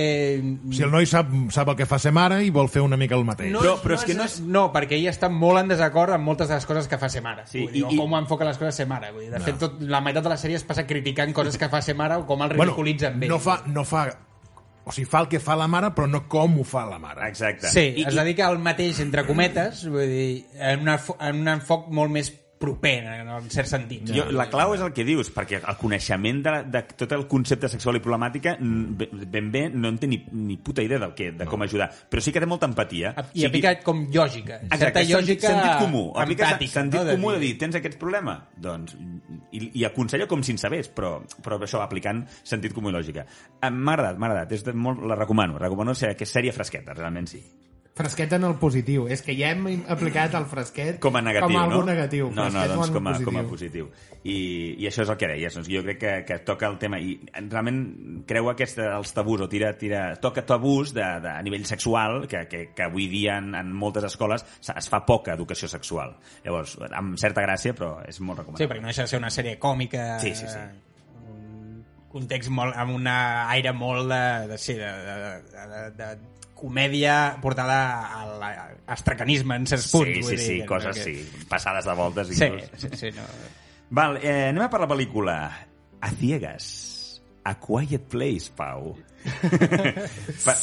Speaker 1: Si el noi sap, sap el que fa ser mare i vol fer una mica el mateix.
Speaker 3: No, però és que no és-
Speaker 4: No, perquè ella està molt en desacord amb moltes de les coses que fa ser mare.
Speaker 3: Sí,
Speaker 4: Sí, vull dir,
Speaker 3: i- i-
Speaker 4: o com enfoca les coses ser mare. Vull dir, de no. fet, tot, la meitat de la sèrie es passa criticant coses que fa ser mare o com el ridiculitza amb ell.
Speaker 1: no fa, no fa... O sigui, fa el que fa la mare, però no com ho fa la mare.
Speaker 3: Exacte.
Speaker 4: Sí,
Speaker 3: I,
Speaker 4: es
Speaker 3: i,
Speaker 4: dedica al mateix, entre cometes, vull dir, en, una, fo- en un enfoc molt més proper, en un cert sentit.
Speaker 3: jo, la clau és el que dius, perquè el coneixement de, de tot el concepte sexual i problemàtica mm, ben- ben bé no en té ni, ni puta idea del que, de com ajudar. Però sí que té molta empatia.
Speaker 4: I
Speaker 3: O sigui,
Speaker 4: aplica com lògica.
Speaker 3: Exacte,
Speaker 4: certa
Speaker 3: sentit,
Speaker 4: lògica
Speaker 3: sentit comú. Aplica sen-
Speaker 4: empàtica,
Speaker 3: sentit
Speaker 4: no?
Speaker 3: no? comú de dir, tens aquest problema? Doncs, i, i aconsella com si en sabés, però, però això, aplicant sentit comú i lògica. Em- M'ha agradat, m'ha agradat. És de, molt, la recomano. Recomano ser, que és sèrie fresqueta, realment sí.
Speaker 2: Fresquet en el positiu. És que ja hem aplicat el fresquet
Speaker 3: Com a negatiu,
Speaker 2: com a algo
Speaker 3: no?
Speaker 2: negatiu.
Speaker 3: No, no,
Speaker 2: Fresquet
Speaker 3: doncs com a,
Speaker 2: algo
Speaker 3: com a positiu. I, I això és el que deies. Doncs jo crec que, que toca el tema i realment creu aquesta, els tabús o tira, tira, toca tabús de, de, a nivell sexual que, que, que avui dia en, en moltes escoles se- es fa poca educació sexual. Llavors, amb certa gràcia, però és molt
Speaker 4: Sí,
Speaker 3: recomanable.
Speaker 4: perquè no deixa de ser una sèrie còmica.
Speaker 3: Sí, sí, sí.
Speaker 4: eh, context molt, amb un aire molt de, de, sí, de, de, de, de, de comèdia portada al a- astracanisme en certs punts.
Speaker 3: sí,
Speaker 4: vull
Speaker 3: sí,
Speaker 4: dir,
Speaker 3: sí,
Speaker 4: que-
Speaker 3: coses
Speaker 4: que-
Speaker 3: sí, passades de voltes.
Speaker 4: Sí,
Speaker 3: inclús.
Speaker 4: sí, sí, no.
Speaker 3: Val, eh, anem a per la pel·lícula. A ciegues. A Quiet Place, Pau. per...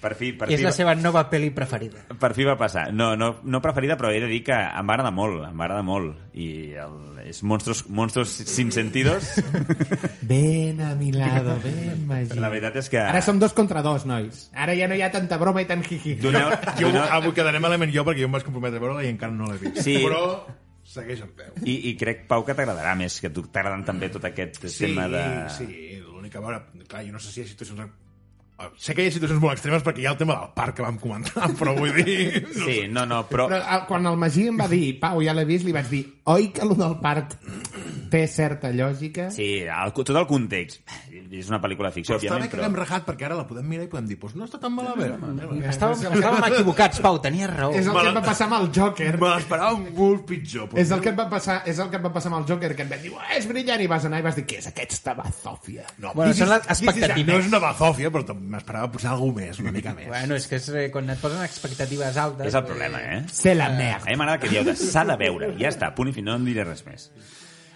Speaker 3: per fi, per
Speaker 4: És
Speaker 3: fi...
Speaker 4: la seva nova pel·li preferida.
Speaker 3: Per fi va passar. No, no, no preferida, però he de dir que em va agradar molt, em va agradar molt. I el, és Monstros, Monstros Sin Sentidos.
Speaker 2: Ven a mi lado, ven, Magí.
Speaker 3: La veritat és que...
Speaker 2: Ara som dos contra dos, nois. Ara ja no hi ha tanta broma i tant jiji.
Speaker 3: Doneu,
Speaker 1: Jo
Speaker 3: doneu,
Speaker 1: avui quedaré malament jo perquè jo em vaig comprometre a veure-la i encara no l'he vist.
Speaker 3: Sí.
Speaker 1: Però segueix en peu.
Speaker 3: i, I crec, Pau, que t'agradarà més, que tu t'agraden també tot aquest tema de...
Speaker 1: sí, l'únic que a veure... Clar, jo no sé si hi ha situacions... eh, Sé que hi ha situacions molt extremes perquè hi ha el tema del parc que vam comentar, però vull dir... no
Speaker 3: sí, no, no, però...
Speaker 2: Però eh, quan el Magí em va dir, Pau, ja l'he vist, li vaig dir, oi que allò del parc té certa lògica?
Speaker 3: Sí, el, tot el context. És una pel·lícula de
Speaker 1: Però
Speaker 3: ficció,
Speaker 1: està bé
Speaker 3: òbviament,
Speaker 1: que l'hem
Speaker 3: però...
Speaker 1: rajat perquè ara la podem mirar i podem dir pues no està tan malament. eh, Me
Speaker 4: Estàvem, estàvem equivocats, Pau, tenies raó.
Speaker 2: És el que
Speaker 1: Mala-
Speaker 2: em va passar amb el Joker.
Speaker 1: l'esperava un molt pitjor.
Speaker 2: És el que et va passar, és el que et va passar amb el Joker, que et van dir, "Uah, és brillant, i vas anar i vas dir, què és aquesta bazòfia?
Speaker 1: No,
Speaker 4: Bueno,
Speaker 1: this is-
Speaker 4: són les
Speaker 1: this is-
Speaker 4: expectatives.
Speaker 1: No és una bazòfia, però tam- m'esperava posar alguna més, una mica més.
Speaker 4: Bueno, és que és, eh, quan et posen expectatives altes...
Speaker 3: És el problema, eh?
Speaker 2: Se la merda.
Speaker 3: A mi m'agrada que dieu de s'ha de veure, ja està, punt i fi, no en diré res més.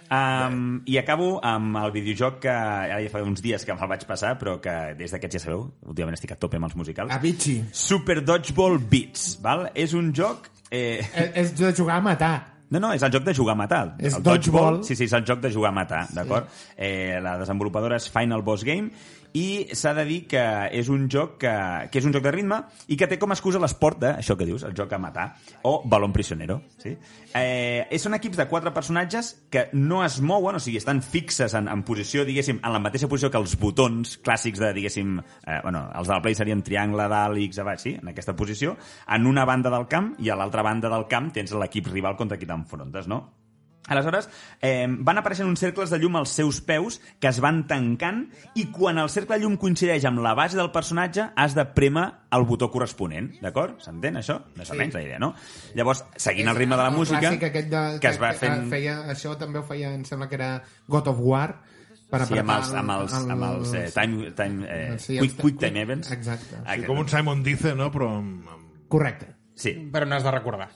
Speaker 3: Um, I acabo amb el videojoc que ara ja fa uns dies que me'l vaig passar, però que des d'aquests ja sabeu, últimament estic a tope amb els musicals.
Speaker 2: Eh, Avicii.
Speaker 3: Super Dodgeball Beats, val? És un joc... Eh...
Speaker 2: És, és de jugar a matar.
Speaker 3: No, no, és el joc de jugar a matar.
Speaker 2: És
Speaker 3: el
Speaker 2: dodgeball.
Speaker 3: Sí, sí, és el joc de jugar a matar, d'acord? Eh, la desenvolupadora és Final Boss Game i s'ha de dir que és un joc que, que és un joc de ritme i que té com a excusa l'esport de, això que dius, el joc a matar, o balón prisionero, sí? Eh, són equips de quatre personatges que no es mouen, o sigui, estan fixes en, en posició, diguéssim, en la mateixa posició que els botons clàssics de, diguéssim, eh, bueno, els de la Play serien triangle, dalt, X, abaix, sí, en aquesta posició, en una banda del camp i a l'altra banda del camp tens l'equip rival contra qui t'enfrontes, no? Aleshores, eh, van apareixent uns cercles de llum als seus peus que es van tancant i quan el cercle de llum coincideix amb la base del personatge has de premer el botó corresponent, d'acord? S'entén això? Més o menys la idea, no? Llavors, seguint el ritme de la música,
Speaker 2: clàssic aquest de,
Speaker 3: que es va fent...
Speaker 2: Feia, això també ho feia, em sembla que era God of War, per
Speaker 3: Sí, amb
Speaker 2: apretar
Speaker 3: els, amb els, amb els eh, time, time, eh,
Speaker 2: Sí, els
Speaker 3: quick,
Speaker 2: time-
Speaker 3: quick time events. Ah,
Speaker 2: Exacte.
Speaker 1: Sí, com un Simon Dice, no? Però amb, amb...
Speaker 2: Correcte.
Speaker 3: Sí.
Speaker 4: Però no has de recordar.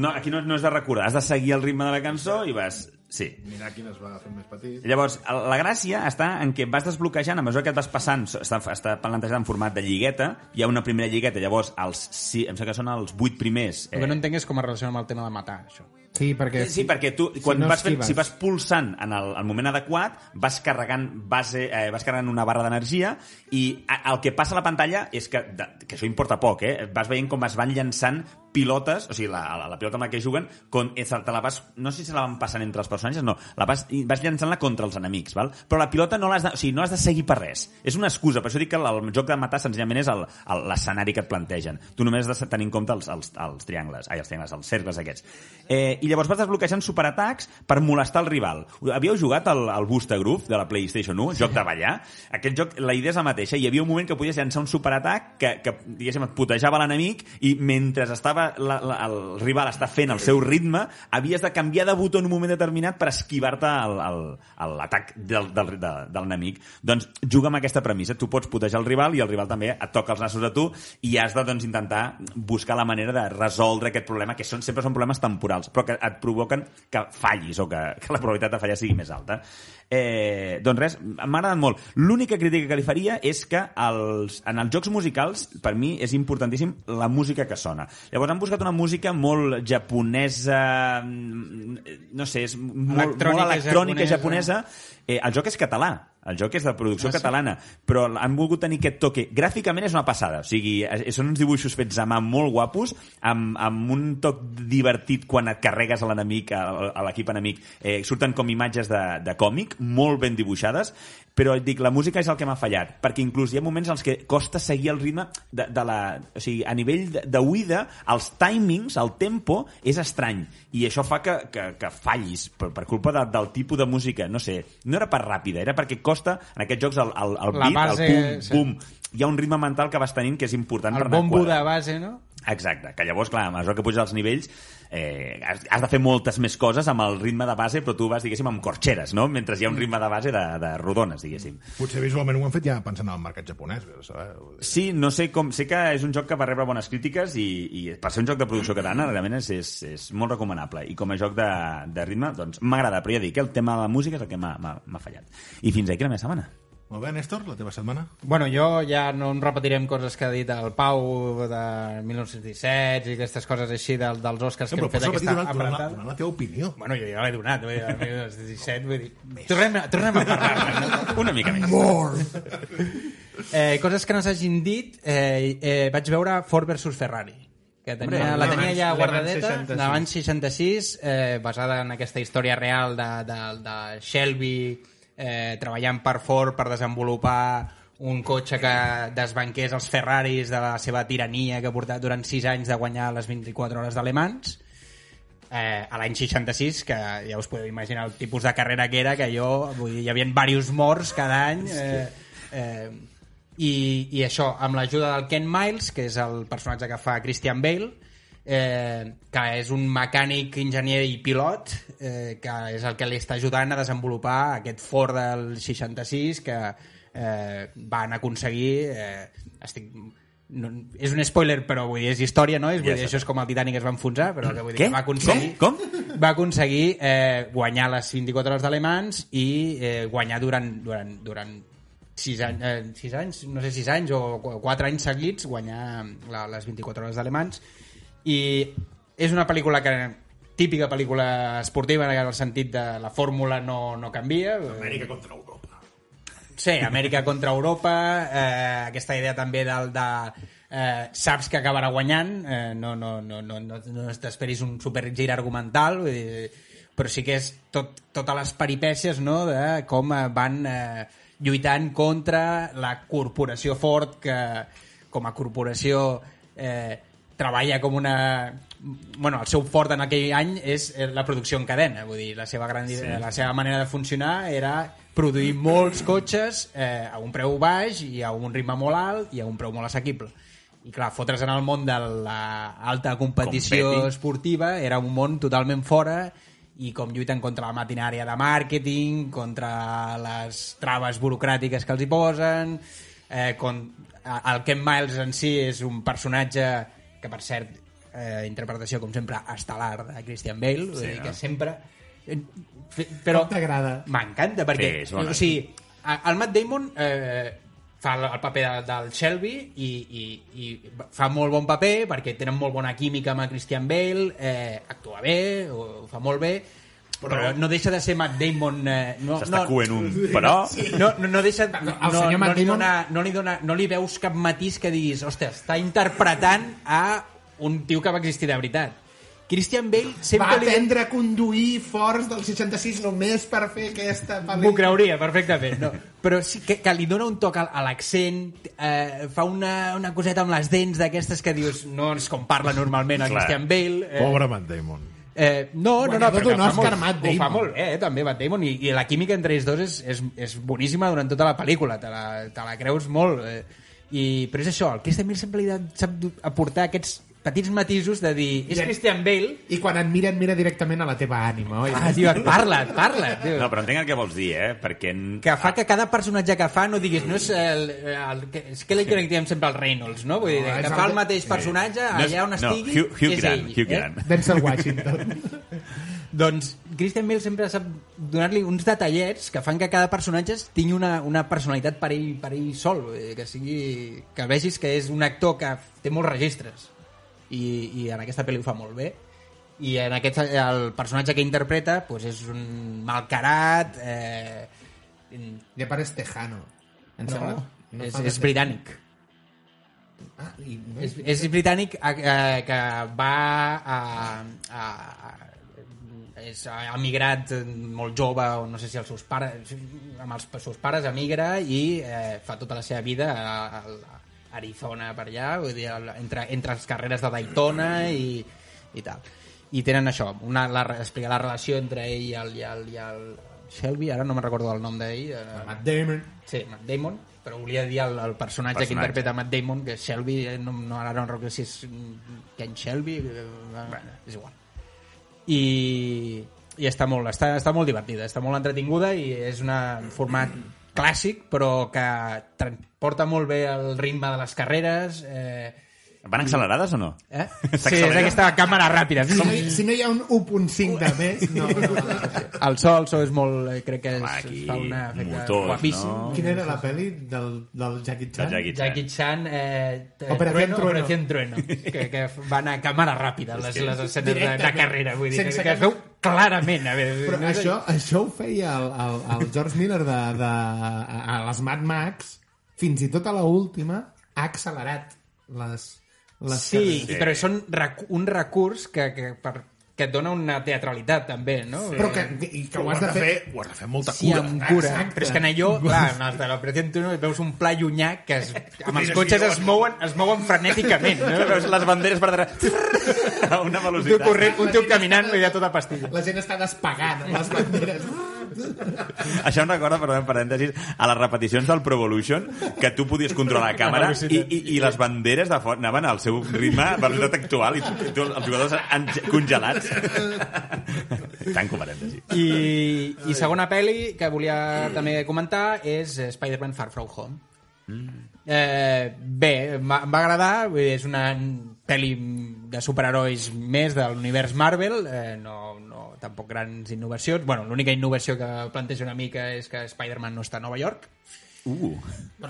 Speaker 3: No, aquí no, no has de recordar, has de seguir el ritme de la cançó i vas... Sí.
Speaker 1: Mirar quin es va fer més petit.
Speaker 3: Llavors, la gràcia està en que vas desbloquejant, a mesura que et vas passant, està, està plantejat en format de lligueta, hi ha una primera lligueta, llavors, els, sí, em sembla que són els vuit primers... eh,
Speaker 4: El que no entenc és com es relaciona amb el tema de matar, això.
Speaker 2: Sí, perquè...
Speaker 3: Sí, perquè tu, quan
Speaker 2: no
Speaker 3: vas fent,
Speaker 2: esquives.
Speaker 3: si vas pulsant en el, el moment adequat, vas carregant, base, eh, vas carregant una barra d'energia i a, el que passa a la pantalla és que, de, que això importa poc, eh? vas veient com es van llançant pilotes, o sigui, la, la, la pilota amb la que juguen, con, eh, te la vas, no sé si se la van passant entre els personatges, no, la vas, i vas llançant-la contra els enemics, val? però la pilota no l'has de, o sigui, no has de seguir per res. És una excusa, per això dic que el, el joc de matar senzillament és el- el- l'escenari que et plantegen. Tu només has de tenir en compte els, els, els triangles, ai, els triangles, els cercles aquests. Eh, I llavors vas desbloquejant superatacs per molestar el rival. Havíeu jugat al, al Busta Groove de la PlayStation 1, joc de ballar? Aquest joc, la idea és la mateixa. Hi havia un moment que podies llançar un superatac que, que diguéssim, et putejava l'enemic i mentre estava la, la, el rival està fent el seu ritme, havies de canviar de botó en un moment determinat per esquivar-te el- el- el- l'atac del, del, de, de l'enemic. Doncs juga amb aquesta premissa. Tu pots putejar el rival i el rival també et toca els nassos a tu i has de doncs, intentar buscar la manera de resoldre aquest problema, que són, sempre són problemes temporals, però que et provoquen que fallis o que, que la probabilitat de fallar sigui més alta. Eh, doncs res, m'ha agradat molt. L'única crítica que li faria és que els, en els jocs musicals, per mi, és importantíssim la música que sona. Llavors han buscat una música molt japonesa, mm, no sé, és molt electrònica, molt
Speaker 4: Electrònica
Speaker 3: electrònica japonesa.
Speaker 4: japonesa.
Speaker 3: Eh, el joc és català, el joc és de producció catalana, però han volgut tenir aquest toque. Gràficament és una passada, o sigui, eh, són uns dibuixos fets a mà molt guapos, amb, amb un toc divertit quan et carregues a l'enemic, a, a l'equip enemic. Eh, surten com imatges de, de còmic, molt ben dibuixades, però et dic, la música és el que m'ha fallat, perquè inclús hi ha moments en els que costa seguir el ritme de, de la... O sigui, a nivell de- d'oïda, els timings, el tempo, és estrany, i això fa que, que, que fallis per, per culpa de, del tipus de música, no sé, no era per ràpida, era perquè costa, en aquests jocs, el, el, el
Speaker 4: La
Speaker 3: beat,
Speaker 4: base,
Speaker 3: el pum,
Speaker 4: sí.
Speaker 3: pum, hi ha un ritme mental que vas tenint que és important
Speaker 4: El
Speaker 3: per anar
Speaker 4: bombo
Speaker 3: quadrant.
Speaker 4: de base, no?
Speaker 3: Exacte, que llavors, clar, a mesura que puges els nivells eh, has, has de fer moltes més coses amb el ritme de base, però tu vas, diguéssim, amb corxeres, no? Mentre hi ha un
Speaker 4: Mm.
Speaker 3: ritme de base de, de rodones, diguéssim.
Speaker 1: Potser visualment ho han fet ja pensant en el mercat japonès. vés a saber.
Speaker 3: Sí, no sé com... Sé que és un joc que va rebre bones crítiques i, i per ser un joc de producció catalana realment és, és, és molt recomanable. I com a joc de, de ritme, doncs m'ha agradat, però ja dic, eh, el tema de la música és el que m'ha- m'ha m'ha fallat. I fins aquí la meva setmana.
Speaker 1: Molt bé, Néstor, la teva setmana?
Speaker 4: Bueno, jo ja no em repetirem coses que ha dit el Pau de 1917 i aquestes coses així del, dels Oscars que
Speaker 1: Sempre
Speaker 4: hem fet
Speaker 1: pots repetir
Speaker 4: aquesta
Speaker 1: donant, donant, la,
Speaker 4: aparentada.
Speaker 1: donant la teva opinió.
Speaker 4: Bueno, jo ja l'he donat, vull dir, el 1917, vull dir... Tornem, a- tornem a parlar.
Speaker 3: Una mica més.
Speaker 1: Molt!
Speaker 4: Eh, coses que no s'hagin dit, eh, eh, vaig veure Ford versus Ferrari, que tenia,
Speaker 1: Hombre,
Speaker 4: la
Speaker 1: Le
Speaker 4: tenia
Speaker 1: Mans-
Speaker 4: ja
Speaker 6: Le Mans
Speaker 4: guardadeta,
Speaker 6: 66.
Speaker 4: l'avant 66, eh, basada en aquesta història real de, de, de Shelby eh, treballant per Ford per desenvolupar un cotxe que desbanqués els Ferraris de la seva tirania que ha portat durant 6 anys de guanyar les 24 hores d'alemans eh, a l'any 66, que ja us podeu imaginar el tipus de carrera que era, que jo, vull dir, hi havia diversos morts cada any, eh, eh, i, i això, amb l'ajuda del Ken Miles, que és el personatge que fa Christian Bale, eh, que és un mecànic, enginyer i pilot, eh, que és el que li està ajudant a desenvolupar aquest Ford del 66 que eh, van aconseguir... Eh, estic, no, és un spoiler, però vull dir, és història, no? És, vull
Speaker 3: Ja
Speaker 4: dir,
Speaker 3: està.
Speaker 4: això és com el Titanic es va enfonsar, però que vull dir,
Speaker 3: Què?
Speaker 4: que va aconseguir...
Speaker 3: Com? Com?
Speaker 4: va aconseguir eh, guanyar les 24 hores d'alemans i eh, guanyar durant, durant, durant 6 anys, eh, 6 anys, no sé, 6 anys o 4 anys seguits, guanyar la, les 24 hores d'alemans. I és una pel·lícula que típica pel·lícula esportiva en el sentit de la fórmula no, no canvia.
Speaker 1: Amèrica contra Europa.
Speaker 4: Sí, Amèrica contra Europa, eh, aquesta idea també del de... Eh, saps que acabarà guanyant, eh, no, no, no, no, no, no t'esperis un supergir argumental, vull dir, però sí que és tot, totes les peripècies no, de com eh, van eh, lluitant contra la corporació Ford que com a corporació eh, treballa com una... Bueno, el seu fort en aquell any és eh, la producció en cadena, vull dir, la seva, gran, sí. la seva manera de funcionar era produir molts cotxes eh, a un preu baix i a un ritme molt alt i a un preu molt assequible. I clar, fotre's en el món de l'alta competició
Speaker 3: Competi.
Speaker 4: esportiva era un món totalment fora i com lluiten contra la matinària de màrqueting, contra les traves burocràtiques que els hi posen, eh, con... a- el Ken Miles en si és un personatge que, per cert, eh, interpretació, com sempre, estel·lar de Christian Bale, sí, dir,
Speaker 3: no?
Speaker 4: que sempre... eh, fe- Però...
Speaker 2: Com t'agrada?
Speaker 4: M'encanta, perquè...
Speaker 3: Sí, és bona.
Speaker 4: o sigui, a- el Matt Damon eh, fa el el paper de, del Shelby i, i, i fa molt bon paper perquè tenen molt bona química amb el Christian Bale, eh, actua bé, ho, ho fa molt bé, però, no deixa de ser Matt Damon... Eh, no,
Speaker 3: S'està
Speaker 4: no,
Speaker 3: coent un... Però...
Speaker 4: no, no, no deixa... No,
Speaker 2: el senyor
Speaker 4: no, no,
Speaker 2: Matt
Speaker 4: li
Speaker 2: Damon-
Speaker 4: dona, no, li dona, no li veus cap matís que diguis hòstia, està interpretant a un tio que va existir de veritat. Christian Bale sempre
Speaker 2: Va
Speaker 4: li... ve-
Speaker 2: aprendre a conduir forts del 66 només per fer aquesta
Speaker 4: M'ho
Speaker 2: pel·lícula.
Speaker 4: creuria, perfectament. No. Però sí que, que li dona un toc a, a l'accent, eh, fa una, una coseta amb les dents d'aquestes que dius no és com parla normalment el
Speaker 3: Clar.
Speaker 4: Christian Bale. Eh,
Speaker 1: Pobre Matt Damon.
Speaker 4: Eh, no, no, no,
Speaker 2: Guanyador
Speaker 4: però que
Speaker 2: d'un
Speaker 4: fa
Speaker 2: Oscar,
Speaker 4: molt-
Speaker 2: Matt
Speaker 4: Ho fa
Speaker 2: Damon.
Speaker 4: molt bé, eh, també, Matt Damon, i, i la química entre ells dos és, és, és boníssima durant tota la pel·lícula, te la, te la creus molt. Eh, i, però és això, el Christian Bale sempre li de, sap du- aportar aquests petits matisos de dir, és
Speaker 2: I-
Speaker 4: Christian Bale,
Speaker 2: I quan et mira, et mira directament a la teva ànima, oi?
Speaker 4: ah, tio, et parla, et parla, tio.
Speaker 3: No, però entenc el que vols dir, eh? Perquè... n-
Speaker 4: que fa que cada personatge que fa no diguis no és el, el, que- és que li que li diem sempre el Reynolds, no? Vull dir,
Speaker 2: No, és
Speaker 4: que
Speaker 2: el
Speaker 4: fa el
Speaker 2: de-
Speaker 4: mateix personatge
Speaker 3: No és-
Speaker 4: allà on estigui
Speaker 3: No, Hugh, Hugh
Speaker 4: és
Speaker 3: Grant,
Speaker 4: ell, eh?
Speaker 3: Hugh Grant.
Speaker 2: Denzel Washington.
Speaker 4: Doncs Christian Bale sempre sap donar-li uns detallets que fan que cada personatge tingui una, una personalitat per ell, per ell sol, vull dir, que sigui que vegis que és un actor que té molts registres i, i en aquesta pel·li ho fa molt bé i en aquest, el personatge que interpreta doncs és un malcarat eh,
Speaker 2: De pare és tejano. Em sembla-
Speaker 4: No, no és,
Speaker 2: fa
Speaker 4: és
Speaker 2: de-
Speaker 4: britànic.
Speaker 2: Ah, i no
Speaker 4: És,
Speaker 2: és...
Speaker 4: és britànic eh, eh, que va a, a, a és ha emigrat eh, molt jove o no sé si els seus pares amb els seus pares emigra i eh, fa tota la seva vida a, a, a Arizona per allà vull dir, al- entre, entre les carreres de Daytona i, i tal i tenen això, una, la, explica la relació entre ell i el, i el, i el Shelby, ara no me'n recordo el nom d'ell eh,
Speaker 2: Matt Damon.
Speaker 4: Sí, Matt Damon. però volia dir el, el personatge, personatge, que
Speaker 3: Personatge.
Speaker 4: interpreta Matt Damon, que Shelby, eh, no, no ara no recordo si és mm, Ken Shelby, eh, és igual. I, i està, molt, està, està molt divertida, està molt entretinguda i és una, un format clàssic, però que porta molt bé el ritme de les carreres... Eh,
Speaker 3: Van accelerades o no?
Speaker 4: eh? Sí,
Speaker 3: S'accelera.
Speaker 4: és aquesta càmera ràpida.
Speaker 2: Si no, hi- si no hi ha un 1.5 de més, no, no.
Speaker 4: El so, el so és molt... eh, Crec que és,
Speaker 3: Home, aquí,
Speaker 4: fa una efecte
Speaker 3: motors,
Speaker 4: guapíssim.
Speaker 3: no?
Speaker 2: Quina era la pel·li del, del Jackie Chan?
Speaker 3: Del Jackie
Speaker 4: Jackie Chan, eh, t-
Speaker 2: Operación Trueno.
Speaker 4: Operación Trueno, que, que van a càmera ràpida les, les escenes de, de
Speaker 2: Directament.
Speaker 4: carrera, vull dir,
Speaker 2: Sense
Speaker 4: que, que es
Speaker 2: cap-
Speaker 4: veu clarament. A veure,
Speaker 2: Però
Speaker 4: és-
Speaker 2: això, això ho feia el, el, el George Miller de, de, a, a les Mad Max, fins i tot a la última ha accelerat les... les
Speaker 4: Sí,
Speaker 2: carreres.
Speaker 4: però són recu un recurs que, que, per, que et dona una teatralitat, també, no?
Speaker 2: Però que, i que ho has de fer...
Speaker 1: ho has de fer amb molta
Speaker 4: Sí,
Speaker 1: cura.
Speaker 4: amb cura.
Speaker 2: Exacte.
Speaker 4: Però és que en allò, clar, en els de l'Operació Trueno veus un pla llunyà que es, amb els
Speaker 1: Mira,
Speaker 4: cotxes
Speaker 1: sí,
Speaker 4: es mouen, es mouen frenèticament, no?
Speaker 3: Veus les banderes per darrere a una
Speaker 4: Un tio,
Speaker 3: velocitat.
Speaker 4: corrent, un tio caminant i de tota pastilla.
Speaker 2: La gent està despegant amb les banderes.
Speaker 3: Això em recorda, perdó, en parèntesis, a les repeticions del Pro Evolution, que tu podies controlar la càmera i, i, i les banderes de fora anaven al seu ritme a velocitat actual i tu, els jugadors en, congelats. Tanco parèntesis.
Speaker 4: I, i segona pel·li que volia també comentar és eh, Spider-Man Far From Home.
Speaker 2: Mm.
Speaker 4: Eh, bé, m'ha- em va agradar, vull dir, és una pel·li de superherois més de l'univers Marvel, eh, no, no tampoc grans innovacions. Bueno, l'única innovació que planteja una mica és que Spider-Man no està a Nova York
Speaker 3: Uh,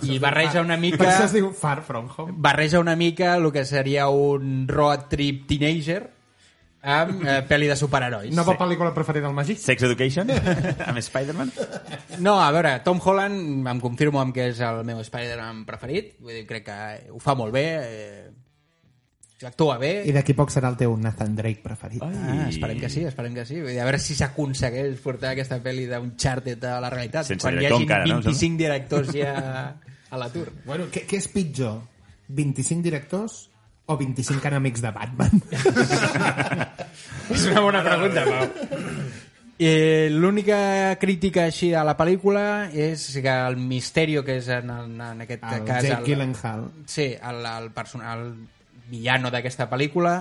Speaker 4: i barreja una
Speaker 2: Per
Speaker 4: mica
Speaker 2: això es diu Far From Home.
Speaker 4: barreja una mica el que seria un road trip teenager amb eh, pel·li de superherois.
Speaker 2: Nova pel·lícula preferida del Magí?
Speaker 3: Sex Education amb Spider-Man?
Speaker 4: No, a veure, Tom Holland em confirmo amb que és el meu Spider-Man preferit. Vull dir, crec que ho fa molt bé, eh, actua bé.
Speaker 2: I d'aquí poc serà el teu Nathan Drake preferit.
Speaker 4: Ah, esperem que sí, esperem que sí. Vull dir, a veure si s'aconsegueix portar aquesta pel·li d'un xàrtet a la realitat.
Speaker 3: Sense
Speaker 4: quan hi
Speaker 3: director
Speaker 4: hagi
Speaker 3: encara, no, em
Speaker 4: 25 directors ja a l'atur.
Speaker 2: Bueno, què, què és pitjor? 25 directors o 25 enemics de Batman?
Speaker 4: És una bona pregunta, Pau. Eh, L'única crítica així a la pel·lícula és que el misteri que és en, en, en aquest
Speaker 2: Ah, El
Speaker 4: cas...
Speaker 2: Jake
Speaker 4: el-
Speaker 2: Gyllenhaal.
Speaker 4: Sí, el, el, persona, el villano d'aquesta pel·lícula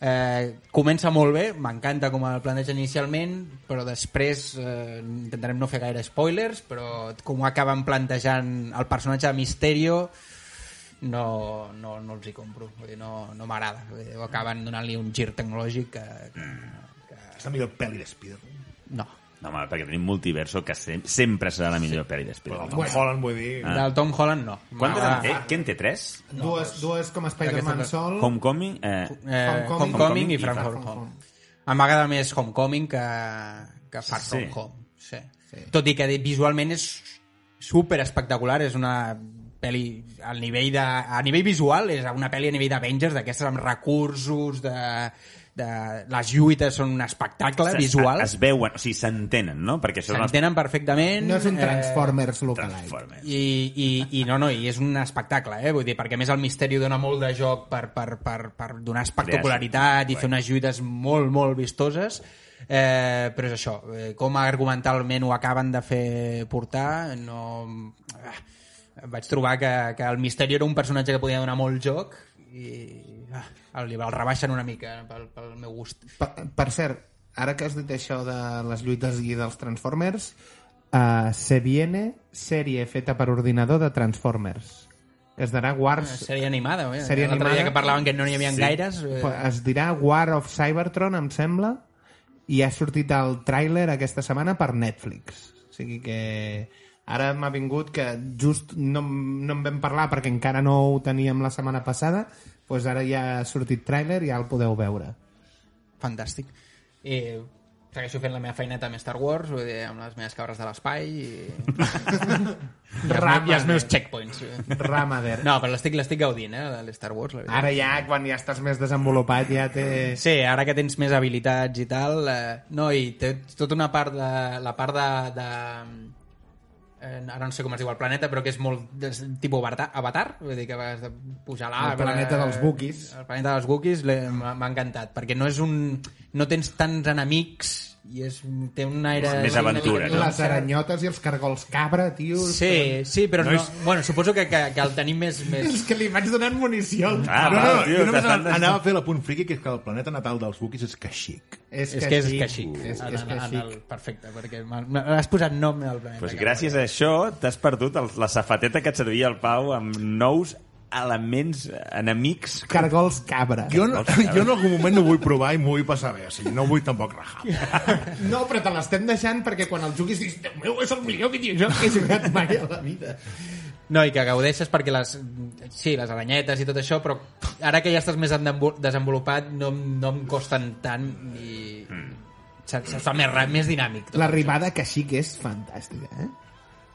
Speaker 4: eh, comença molt bé, m'encanta com el planeja inicialment, però després eh, intentarem no fer gaire spoilers, però com ho acaben plantejant el personatge de Misterio no, no, no els hi compro, vull dir, no, no m'agrada. Vull dir, acaben donant-li un gir tecnològic que, que,
Speaker 1: És la millor pel·li de Spider-Man.
Speaker 4: no.
Speaker 3: No, home, perquè tenim multiverso que sem sempre serà la millor pel·li de
Speaker 1: Però el
Speaker 3: Spider-Man.
Speaker 1: Tom Holland, vull dir...
Speaker 4: Ah. Del Tom Holland no. Ah.
Speaker 3: Quantes en
Speaker 4: M'agrada.
Speaker 3: té? Què en té? Tres?
Speaker 2: dues, dues com a Spider-Man
Speaker 4: Aquesta-
Speaker 2: sol.
Speaker 3: Homecoming? Eh,
Speaker 4: eh,
Speaker 2: Homecoming.
Speaker 4: Homecoming, i Far From Home. Em m'agrada més Homecoming que, que Far From
Speaker 3: Sí.
Speaker 4: Home. Sí. Tot i que visualment és super espectacular, és una pel·li al nivell de, a nivell visual és una pel·li a nivell d'Avengers d'aquestes amb recursos de, de, les lluites són un espectacle
Speaker 3: se-
Speaker 4: visual
Speaker 3: Es, es veuen, o sigui, s'entenen, no? Perquè això és
Speaker 4: s'entenen perfectament
Speaker 2: No és un
Speaker 4: eh,
Speaker 2: Transformers eh, lookalike.
Speaker 3: Transformers.
Speaker 4: i, i, i no, no, i és un espectacle, eh? Vull dir, perquè a més el misteri dona molt de joc per, per, per, per donar espectacularitat i fer unes lluites molt, molt vistoses, eh, però és això, eh, com argumentalment ho acaben de fer portar, no... Ah, vaig trobar que, que el misteri era un personatge que podia donar molt joc i ah, el, el rebaixen una mica pel, pel meu gust.
Speaker 2: Per, per cert, ara que has dit això de les lluites i dels Transformers, uh, se viene sèrie feta per ordinador de Transformers. Es darà Wars...
Speaker 4: Sèrie animada, eh?
Speaker 2: Sèrie
Speaker 4: L'altre dia
Speaker 2: animada.
Speaker 4: que parlaven que no n'hi havia sí. gaires... Eh,
Speaker 2: Es dirà War of Cybertron, em sembla, i ha sortit el tràiler aquesta setmana per Netflix. O sigui que ara m'ha vingut que just no, no en vam parlar perquè encara no ho teníem la setmana passada, doncs ara ja ha sortit tràiler i ja el podeu veure.
Speaker 4: fantàstic. Eh, segueixo fent la meva feineta amb Star Wars, vull dir, amb les meves cabres de l'espai i... I, els,
Speaker 2: Rama.
Speaker 4: I els meus checkpoints.
Speaker 2: Ramader.
Speaker 4: No, però l'estic l'estic gaudint, eh, de l'Star Wars. La veritat.
Speaker 2: Ara ja, quan ja estàs més desenvolupat, ja té...
Speaker 4: Sí, ara que tens més habilitats i tal, eh, no, i té tota una part de... La part de... de eh, ara no sé com es diu el planeta, però que és molt de, tipus avatar, avatar, vull dir que vas de pujar a l'arbre...
Speaker 2: planeta dels Wookiees.
Speaker 4: El planeta dels Wookiees l'he- m'ha m'ha encantat, perquè no és un... no tens tants enemics i és, té un aire...
Speaker 3: Més
Speaker 4: una
Speaker 3: aventura,
Speaker 4: mica-
Speaker 3: no?
Speaker 2: Les aranyotes i els cargols cabra, tio.
Speaker 4: Sí, sí, però
Speaker 1: No
Speaker 4: no,
Speaker 1: és-
Speaker 4: Bueno, suposo que, que, que el tenim més... més...
Speaker 2: És que li vaig donant munició.
Speaker 3: Ah,
Speaker 1: no,
Speaker 3: va,
Speaker 1: no,
Speaker 3: tio,
Speaker 1: jo només
Speaker 3: t'estan-
Speaker 1: anava a fer l'apunt friqui, que és que el planeta natal dels Wookiees és Kashyyyk.
Speaker 2: És,
Speaker 4: És que és Kashyyyk.
Speaker 2: És,
Speaker 4: En-
Speaker 2: és
Speaker 4: en- en
Speaker 2: Kashyyyk.
Speaker 4: el- Perfecte, perquè m'ha- m'has posat nom al planeta.
Speaker 3: Pues
Speaker 4: que
Speaker 3: gràcies a això t'has perdut el, la safateta que et servia el Pau amb nous elements enemics.
Speaker 2: Cargols cabra.
Speaker 1: Jo, no, jo en algun moment ho vull provar i m'ho vull passar bé, o sigui, no vull tampoc rajar.
Speaker 2: No, però te l'estem deixant perquè quan el juguis dius Déu meu, és el millor videojoc que he jugat mai a la vida.
Speaker 4: No, i que gaudeixes perquè les, sí, les aranyetes i tot això, però ara que ja estàs més endemvo- desenvolupat no, em- no em costen tant i se, se fa més, ra- més dinàmic. tot.
Speaker 2: L'arribada a Kashyyyk és fantàstica, eh?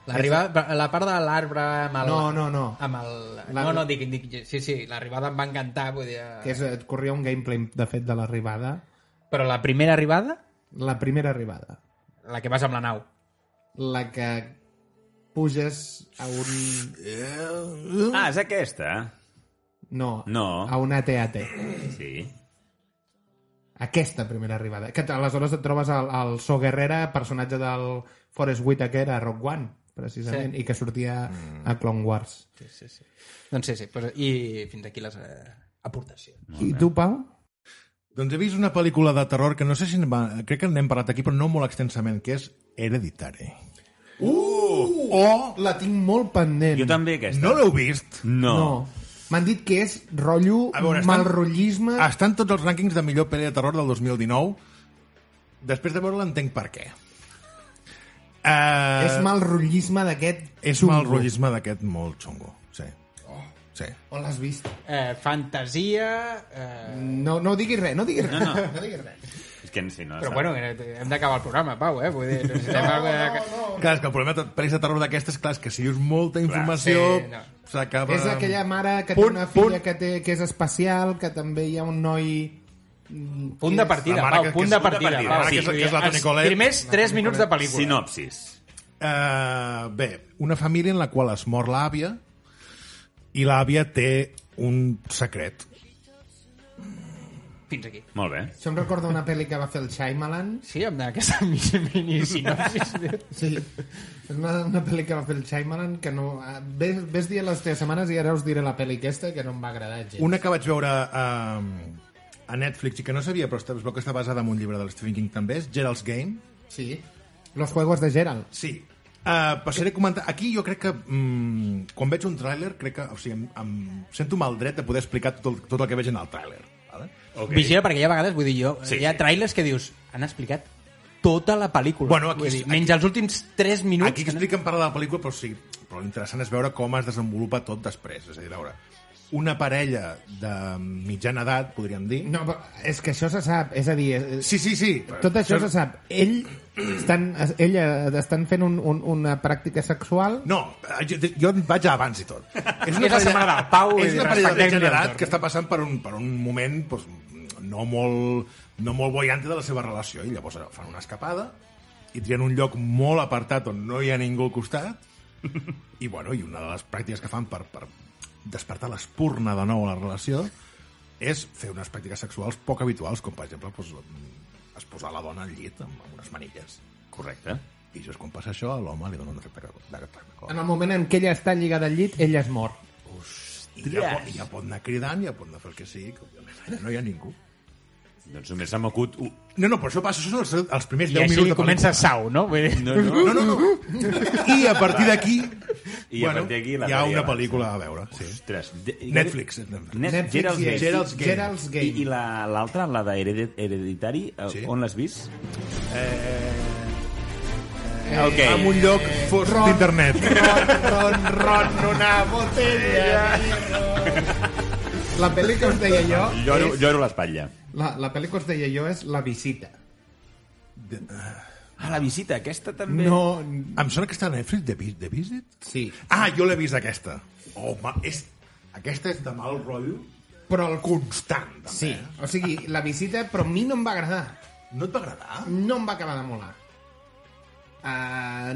Speaker 4: L'arribada, la part de l'arbre amb el...
Speaker 2: No, no, no.
Speaker 4: Amb el...
Speaker 2: La-
Speaker 4: No, no, dic, dic, sí, sí, l'arribada em va encantar, vull dir...
Speaker 2: Que és, et corria un gameplay, de fet, de l'arribada.
Speaker 4: Però la primera arribada,
Speaker 2: La primera arribada.
Speaker 4: la que vas amb la nau.
Speaker 2: La que puges a un...
Speaker 3: Ah, és aquesta.
Speaker 2: No,
Speaker 3: No.
Speaker 2: a un AT-AT.
Speaker 3: Sí.
Speaker 2: Aquesta primera arribada. Que t- aleshores et trobes al, al So Guerrera, personatge del Forrest Whitaker a Rock One, precisament,
Speaker 4: Sí.
Speaker 2: i que sortia
Speaker 3: Mm.
Speaker 2: a Clone Wars.
Speaker 4: Sí, sí, sí. Doncs sí, sí, pues, i fins aquí les eh, aportacions.
Speaker 2: I tu, Pau?
Speaker 1: Doncs he vist una pel·lícula de terror que no sé si... en Va, crec que n'hem parlat aquí, però no molt extensament, que és Hereditary. Uh! O...
Speaker 2: Oh, La tinc molt pendent.
Speaker 3: Jo també aquesta.
Speaker 1: No l'heu vist?
Speaker 3: No.
Speaker 2: No. M'han dit que és rotllo,
Speaker 1: A veure, estan-
Speaker 2: mal rotllisme...
Speaker 1: Estan tots els rànquings de millor pel·li de terror del 2019. Després de veure-la entenc per què. Uh,
Speaker 2: És mal rotllisme d'aquest...
Speaker 1: És un mal rotllisme d'aquest molt xungo. Sí. Sí.
Speaker 2: On l'has vist?
Speaker 4: Eh, fantasia... Eh...
Speaker 2: No, no diguis res, no diguis res. No, no. no diguis res.
Speaker 3: És que, sí, no
Speaker 4: Però
Speaker 3: està-
Speaker 4: bueno, que hem d'acabar el programa, Pau, eh? Vull dir, necessitem no, alguna cosa... No,
Speaker 1: Clar, és que el problema de pel·lis de terror d'aquestes, clar, és que si dius molta informació,
Speaker 4: sí, no.
Speaker 1: s'acaba...
Speaker 2: És aquella mare que
Speaker 1: um, Punt,
Speaker 2: té una
Speaker 1: punt.
Speaker 2: filla que, té, que és especial, que també hi ha un noi...
Speaker 4: no. Punt de partida,
Speaker 1: La mare
Speaker 4: Pau,
Speaker 1: que- que
Speaker 4: punt
Speaker 1: és punt
Speaker 4: de
Speaker 1: de
Speaker 4: partida.
Speaker 3: partida,
Speaker 4: Pau,
Speaker 1: que és-
Speaker 4: vull
Speaker 1: que és
Speaker 4: dir,
Speaker 1: la Toni
Speaker 4: els
Speaker 1: Collet.
Speaker 4: Primers 3 minuts de pel·lícula.
Speaker 3: Sinopsis.
Speaker 1: Uh, bé, una família en la qual es mor l'àvia i l'àvia té un secret.
Speaker 4: Fins aquí.
Speaker 3: Molt bé.
Speaker 2: Això em recorda una pel·li que va fer el Shyamalan.
Speaker 4: Sí, amb aquesta mini, mini sinopsis.
Speaker 2: Sí. És una, una pel·li que va fer el Shyamalan que no... ah, Ves, ves dient les teves setmanes i ara us diré la pel·li aquesta que no em va agradar gens.
Speaker 1: Una que vaig veure uh, a Netflix i que no sabia, però es veu que està basada en un llibre del Stephen King també, és Gerald's Game.
Speaker 2: Sí. Los Juegos de Gerald.
Speaker 1: Sí. Uh, passaré a comentar... Aquí jo crec que mm, quan veig un tràiler, crec que... O sigui, em, em sento mal dret de poder explicar tot el, tot el que veig en el tràiler. Vale?
Speaker 3: Okay.
Speaker 4: Vigila, perquè hi ha vegades, vull dir jo,
Speaker 3: Sí,
Speaker 4: sí, hi ha
Speaker 3: sí.
Speaker 4: trailers que dius, han explicat tota la pel·lícula.
Speaker 1: Bueno, aquí-
Speaker 4: Vull dir,
Speaker 1: aquí-
Speaker 4: menys els últims 3 minuts.
Speaker 1: Aquí expliquen part de la pel·lícula, però sí, però l'interessant és veure com es desenvolupa tot després. És a dir, a veure, una parella de mitjana edat, podríem dir...
Speaker 2: No, però és que això se sap, és a dir, eh,
Speaker 1: Sí, sí, sí.
Speaker 2: tot això se sap. Ell estan, ella estan fent un, un, una pràctica sexual
Speaker 1: No, eh, jo, jo vaig a abans i tot. És
Speaker 4: la setmana del Pau i
Speaker 1: és una
Speaker 4: respectem
Speaker 1: parella de
Speaker 4: el
Speaker 1: mitjana edat
Speaker 4: torn.
Speaker 1: que està passant per un, per un moment doncs, no molt, no molt boiante de la seva relació. I llavors fan una escapada i trien un lloc molt apartat on no hi ha ningú al costat i, bueno, i una de les pràctiques que fan per, per despertar l'espurna de nou a la relació és fer unes pràctiques sexuals poc habituals, com per exemple doncs, es posar la dona al llit amb, amb unes manilles.
Speaker 3: Correcte.
Speaker 1: I just quan passa això, a l'home li dona un efecte de cartacol.
Speaker 2: en el moment en què ella està lligada al llit, ell es mor.
Speaker 1: I ja, pot, ja pot anar cridant, ja pot anar a fer el que sigui, que òbviament allà no hi ha ningú.
Speaker 3: Doncs només s'ha m'acut... u-
Speaker 1: No, no, però això passa, això són els, els primers
Speaker 4: I
Speaker 1: 10
Speaker 4: així
Speaker 1: minuts
Speaker 4: li
Speaker 1: de
Speaker 4: comença Sau, no? Vull dir...
Speaker 3: No, no.
Speaker 1: pel·lícula. No, no, no. I a partir d'aquí...
Speaker 3: I a partir d'aquí la
Speaker 1: hi ha
Speaker 3: Maria
Speaker 1: una
Speaker 3: avança.
Speaker 1: pel·lícula a veure. Sí.
Speaker 3: Ostres. de-
Speaker 1: Netflix. és Netflix.
Speaker 3: Net... Netflix. Gerald's Game.
Speaker 2: i-
Speaker 1: Gerald's Game.
Speaker 2: Gerald's Game.
Speaker 3: I, i la- l'altra, la, de Heredit- Hereditary,
Speaker 1: Sí.
Speaker 3: sí. on l'has vist?
Speaker 2: Eh,
Speaker 3: Ok.
Speaker 1: En un lloc fosc
Speaker 2: Ron.
Speaker 1: d'internet.
Speaker 2: Ron, ron, ron, una botella. La pel·li que us deia jo
Speaker 3: Lloro,
Speaker 2: és,
Speaker 3: lloro l'espatlla.
Speaker 2: la, la pel·li que us deia jo és La Visita.
Speaker 3: Ah, la visita, aquesta també.
Speaker 2: No,
Speaker 1: Em sona que està a Netflix, The, Vis- The Visit?
Speaker 2: sí.
Speaker 1: Ah, jo l'he vist, aquesta. Oh, ma, és... Aquesta és de mal rotllo, però el constant. També. eh?
Speaker 2: Sí, o sigui, La Visita, però a mi no em va agradar.
Speaker 1: No et va agradar?
Speaker 2: No em va acabar de molar. Uh,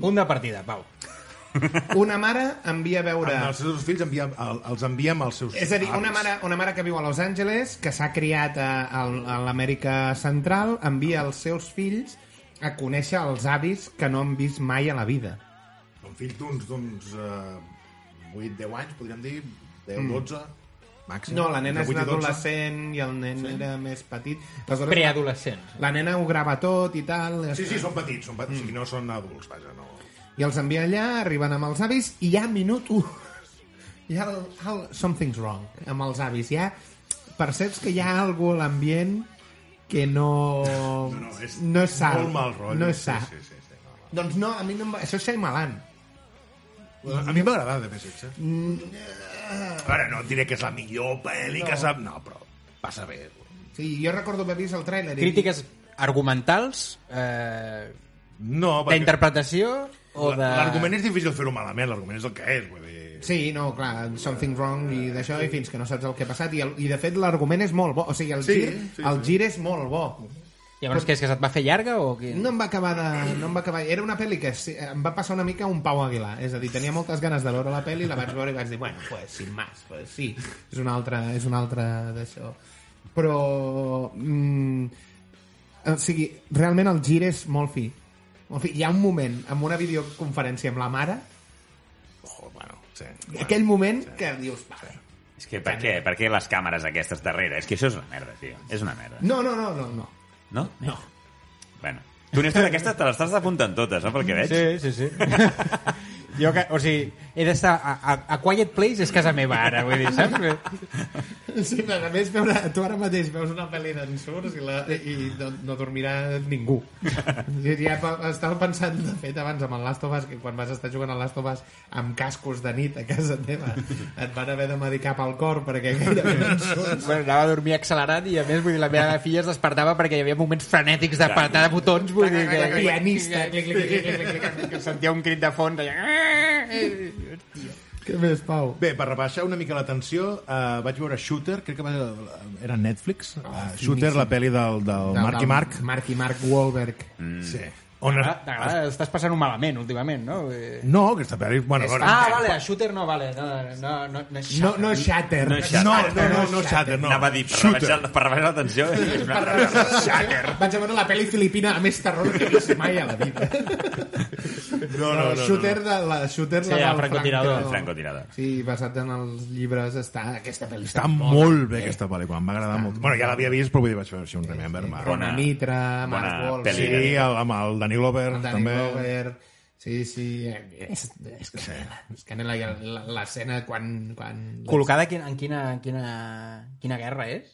Speaker 4: Punt de partida, Pau.
Speaker 2: Una mare envia a veure...
Speaker 1: Els seus fills envia, el, els enviem als seus
Speaker 2: És a dir, una
Speaker 1: avis.
Speaker 2: mare, una mare que viu a Los Angeles, que s'ha criat a, a, a l'Amèrica Central, envia els seus fills a conèixer els avis que no han vist mai a la vida.
Speaker 1: Són fills d'uns d'uns uh, 8-10 anys, podríem dir, 10-12, mm. màxim.
Speaker 2: No, la nena és
Speaker 1: Entre 8 i 12.
Speaker 2: un adolescent i el nen sí. era més petit. Aleshores,
Speaker 4: Preadolescents.
Speaker 2: la nena ho grava tot i tal.
Speaker 1: Sí, sí, són petits, són petits, mm. no són adults, vaja, no...
Speaker 2: I els envia allà, arriben amb els avis, i hi ha minut 1. Hi ha el, el, something's wrong amb els avis. Hi ha, perceps que hi ha algú a l'ambient que no... no és sa.
Speaker 1: Molt mal rotllo.
Speaker 2: No és sa.
Speaker 1: Sí, sí, sí, sí, no, no.
Speaker 2: Doncs no, a mi no em va... Això és Shyamalan.
Speaker 1: A mi m'ha agradat de PSX. Mm. Ara no et diré que és la millor pel·li no. que sap... No, però passa bé.
Speaker 2: Sí, jo recordo haver vist el tràiler. i-
Speaker 4: Crítiques argumentals, eh,
Speaker 1: No,
Speaker 4: d'interpretació o de...
Speaker 1: L'argument és difícil fer-ho malament, l'argument és el que és, vull dir...
Speaker 2: Sí, no, clar, Something Wrong
Speaker 1: Eh,
Speaker 2: i d'això, i fins que no saps el que ha passat. I, el, i de fet, l'argument és molt bo. O sigui, el,
Speaker 1: Sí,
Speaker 2: gir,
Speaker 1: sí,
Speaker 2: el
Speaker 1: sí.
Speaker 2: gir és molt bo.
Speaker 4: Llavors, què és, que se't va fer llarga o què?
Speaker 2: No em va acabar de... No em va acabar... Era una pel·li que sí, em va passar una mica un Pau Aguilar. És a dir, tenia moltes ganes de veure la pel·li, la vaig veure i vaig dir, bueno, pues, sin más, pues sí, és una altra, és una altra d'això. Però... Mm, o sigui, realment el gir és molt fi. Molt fi. Hi ha un moment, amb una videoconferència amb la mare,
Speaker 1: Oh, bueno, sí.
Speaker 2: bueno, aquell moment que dius, vale.
Speaker 3: És que per què? Per què les càmeres aquestes darrere? És que això és una merda, tio. És una merda.
Speaker 2: No, no, no, no, no.
Speaker 3: No? No. Bueno. Tu, Néstor, aquestes te les estàs apuntant totes, no? Pel que veig.
Speaker 4: Sí, sí, sí. jo que, o sigui, he d'estar a, a, a Quiet Place és casa meva ara, vull dir, saps?
Speaker 2: Sí, però a més, veure, tu ara mateix veus una pel·li d'en Surs i, la, i no, no dormirà ningú. Jo ja pe- estava pensant, de fet, abans amb el Last of Us, que quan vas estar jugant al Last of Us amb cascos de nit a casa teva, et van haver de medicar pel cor perquè gairebé no en surts.
Speaker 4: bueno, anava a dormir accelerat i a més, vull dir, la meva filla es despertava perquè hi havia moments frenètics d'apretar de botons, vull dir que...
Speaker 2: Pianista.
Speaker 4: Clic, clic, clic, clic, clic, clic, que sentia un crit de fons "Ah!" allà...
Speaker 2: Què més, Pau?
Speaker 1: Bé, per rebaixar una mica la tensió, eh, vaig veure Shooter, crec que va, era a Netflix, oh, Shooter, la pel·li del, del Marc i Marc.
Speaker 2: Marc i Marc Wahlberg.
Speaker 1: Mm. Sí. On es...
Speaker 4: T'agrada? Ah, Estàs passant-ho malament últimament, no?
Speaker 1: No, aquesta pel·li... Bueno, a veure,
Speaker 4: Ah, vale, a Shooter no, vale. No, no, no, no,
Speaker 2: No, no Shatter.
Speaker 3: No Shatter.
Speaker 1: No, no, no, no, Shatter, no.
Speaker 3: Anava a dir, per rebaixar, per rebaixar la tensió... és una merda.
Speaker 2: Shatter. Vaig a veure la pel·li filipina amb més terror que he vist mai a la vida.
Speaker 1: No, no, no, no.
Speaker 2: Shooter de la shooter
Speaker 4: Sí,
Speaker 2: la del
Speaker 4: el francotirador.
Speaker 2: Franco.
Speaker 3: El francotirador.
Speaker 2: Sí, basat en els llibres està aquesta pel·li
Speaker 1: Està molt bé aquesta pel·lícula, em va agradar molt. Bueno, ja l'havia vist, però vull dir, vaig fer així un remember. Sí,
Speaker 3: Bona-
Speaker 2: Bona Mitra, Mark
Speaker 3: bona
Speaker 2: Wahlberg,
Speaker 1: sí,
Speaker 3: pel·li.
Speaker 2: sí,
Speaker 1: el, amb el Danny Glover,
Speaker 2: el Danny
Speaker 1: també.
Speaker 2: Glover. Sí, sí, eh, és, és Canela. És Canela i el- l'escena quan... quan...
Speaker 4: Col·locada quin- en quina, en quina, quina guerra és?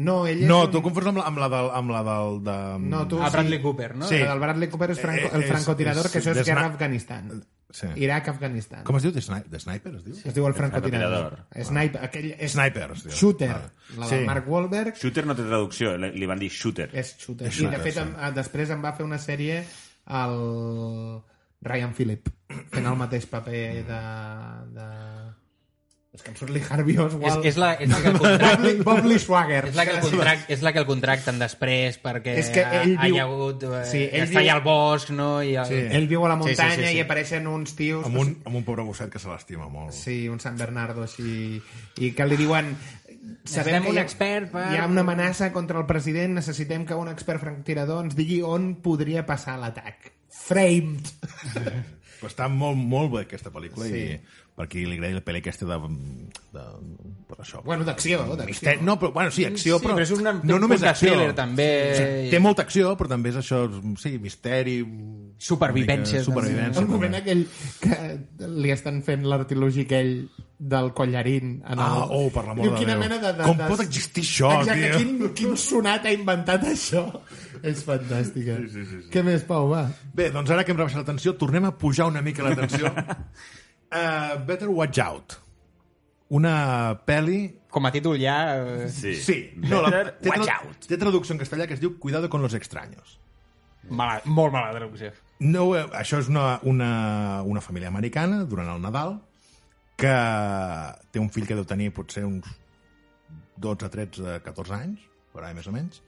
Speaker 2: No, ell és
Speaker 1: No,
Speaker 2: un-
Speaker 1: tu confons amb la, amb la del... Amb la del de...
Speaker 2: No, tu...
Speaker 4: A
Speaker 2: sí.
Speaker 4: Bradley Cooper, no?
Speaker 1: Sí.
Speaker 2: La del Bradley Cooper és franco,
Speaker 1: Eh,
Speaker 2: el
Speaker 1: és-
Speaker 2: francotirador,
Speaker 1: és-
Speaker 2: que això és
Speaker 1: des-
Speaker 2: guerra a Afganistan.
Speaker 1: Sí.
Speaker 2: Iraq-Afganistan.
Speaker 1: Com es diu? The, sni the Sniper, es diu?
Speaker 2: Es diu el francotirador.
Speaker 3: francotirador.
Speaker 2: Sniper. Aquell és
Speaker 1: Sniper, es diu.
Speaker 2: Shooter.
Speaker 1: Vale.
Speaker 2: La de
Speaker 1: Sí.
Speaker 2: Mark Wahlberg
Speaker 3: Shooter no té traducció, li li van dir shooter.
Speaker 2: és Shooter.
Speaker 1: És
Speaker 2: I de
Speaker 1: Shooter,
Speaker 2: fet,
Speaker 1: sí.
Speaker 2: em, eh, després em va fer una sèrie el Ryan Phillip, fent el mateix paper de... de... És que em surt Lee Harvey
Speaker 4: És,
Speaker 2: Oswald.
Speaker 4: és, la, és, la que el
Speaker 2: Bob,
Speaker 4: contracten,
Speaker 2: Lee, Bob Lee Swagger.
Speaker 4: és, la que el contracten, és la que el contracten després perquè
Speaker 2: És que ell
Speaker 4: ha,
Speaker 2: viu-
Speaker 4: hi ha hagut... Eh,
Speaker 2: Sí,
Speaker 4: sí,
Speaker 2: ell viu-
Speaker 4: està allà al bosc, no? I el...
Speaker 1: Sí.
Speaker 2: Ell viu a la
Speaker 4: Sí, sí,
Speaker 2: muntanya
Speaker 4: sí, sí.
Speaker 2: i apareixen uns tios...
Speaker 1: Amb un, amb un pobre gosset que se l'estima molt.
Speaker 2: Sí, un San Bernardo així... I que li diuen...
Speaker 4: Necessitem un
Speaker 2: hi ha-
Speaker 4: expert per-
Speaker 2: Hi ha una amenaça contra el president, necessitem que un expert franctirador ens digui on podria passar l'atac. Framed!
Speaker 1: Però està molt, molt bé aquesta pel·lícula sí. i
Speaker 2: Sí.
Speaker 1: per qui li agradi la pel·li aquesta de... de per això.
Speaker 2: Bueno,
Speaker 4: eh,
Speaker 2: d'acció, d'acció.
Speaker 1: Misteri, no, però, bueno, sí, acció,
Speaker 4: Sí,
Speaker 1: però,
Speaker 4: però és una- té
Speaker 1: no
Speaker 4: un
Speaker 1: només
Speaker 4: punt de
Speaker 1: acció.
Speaker 4: thriller, també.
Speaker 1: Sí, té molta acció, però també és això, sí, misteri...
Speaker 4: Supervivència,
Speaker 1: una mica Supervivència.
Speaker 2: El moment eh?
Speaker 1: també.
Speaker 2: aquell que li estan fent l'artilogi aquell del collarín en el...
Speaker 1: Ah, oh, per l'amor
Speaker 2: Diu,
Speaker 1: de
Speaker 2: quina
Speaker 1: Déu.
Speaker 2: mena de, de,
Speaker 1: Com
Speaker 2: de...
Speaker 1: pot existir això,
Speaker 2: Exacte,
Speaker 1: tio?
Speaker 2: Quin, quin sonat ha inventat això? És fantàstica. Sí, sí, sí, sí. Què més, Pau, va?
Speaker 1: Bé, doncs ara que hem rebaixat la tensió, tornem a pujar una mica la tensió. uh, Better Watch Out. Una pel·li...
Speaker 4: Com a títol ja... eh,
Speaker 3: Sí.
Speaker 1: no, la,
Speaker 3: Better
Speaker 1: té,
Speaker 3: watch
Speaker 1: tra-
Speaker 3: out.
Speaker 1: té traducció en castellà que es diu Cuidado con los extraños.
Speaker 4: Mala, molt mala traducció.
Speaker 1: No, eh, això és una, una, una família americana durant el Nadal que té un fill que deu tenir potser uns 12, 13, 14 anys, per ahí més o menys,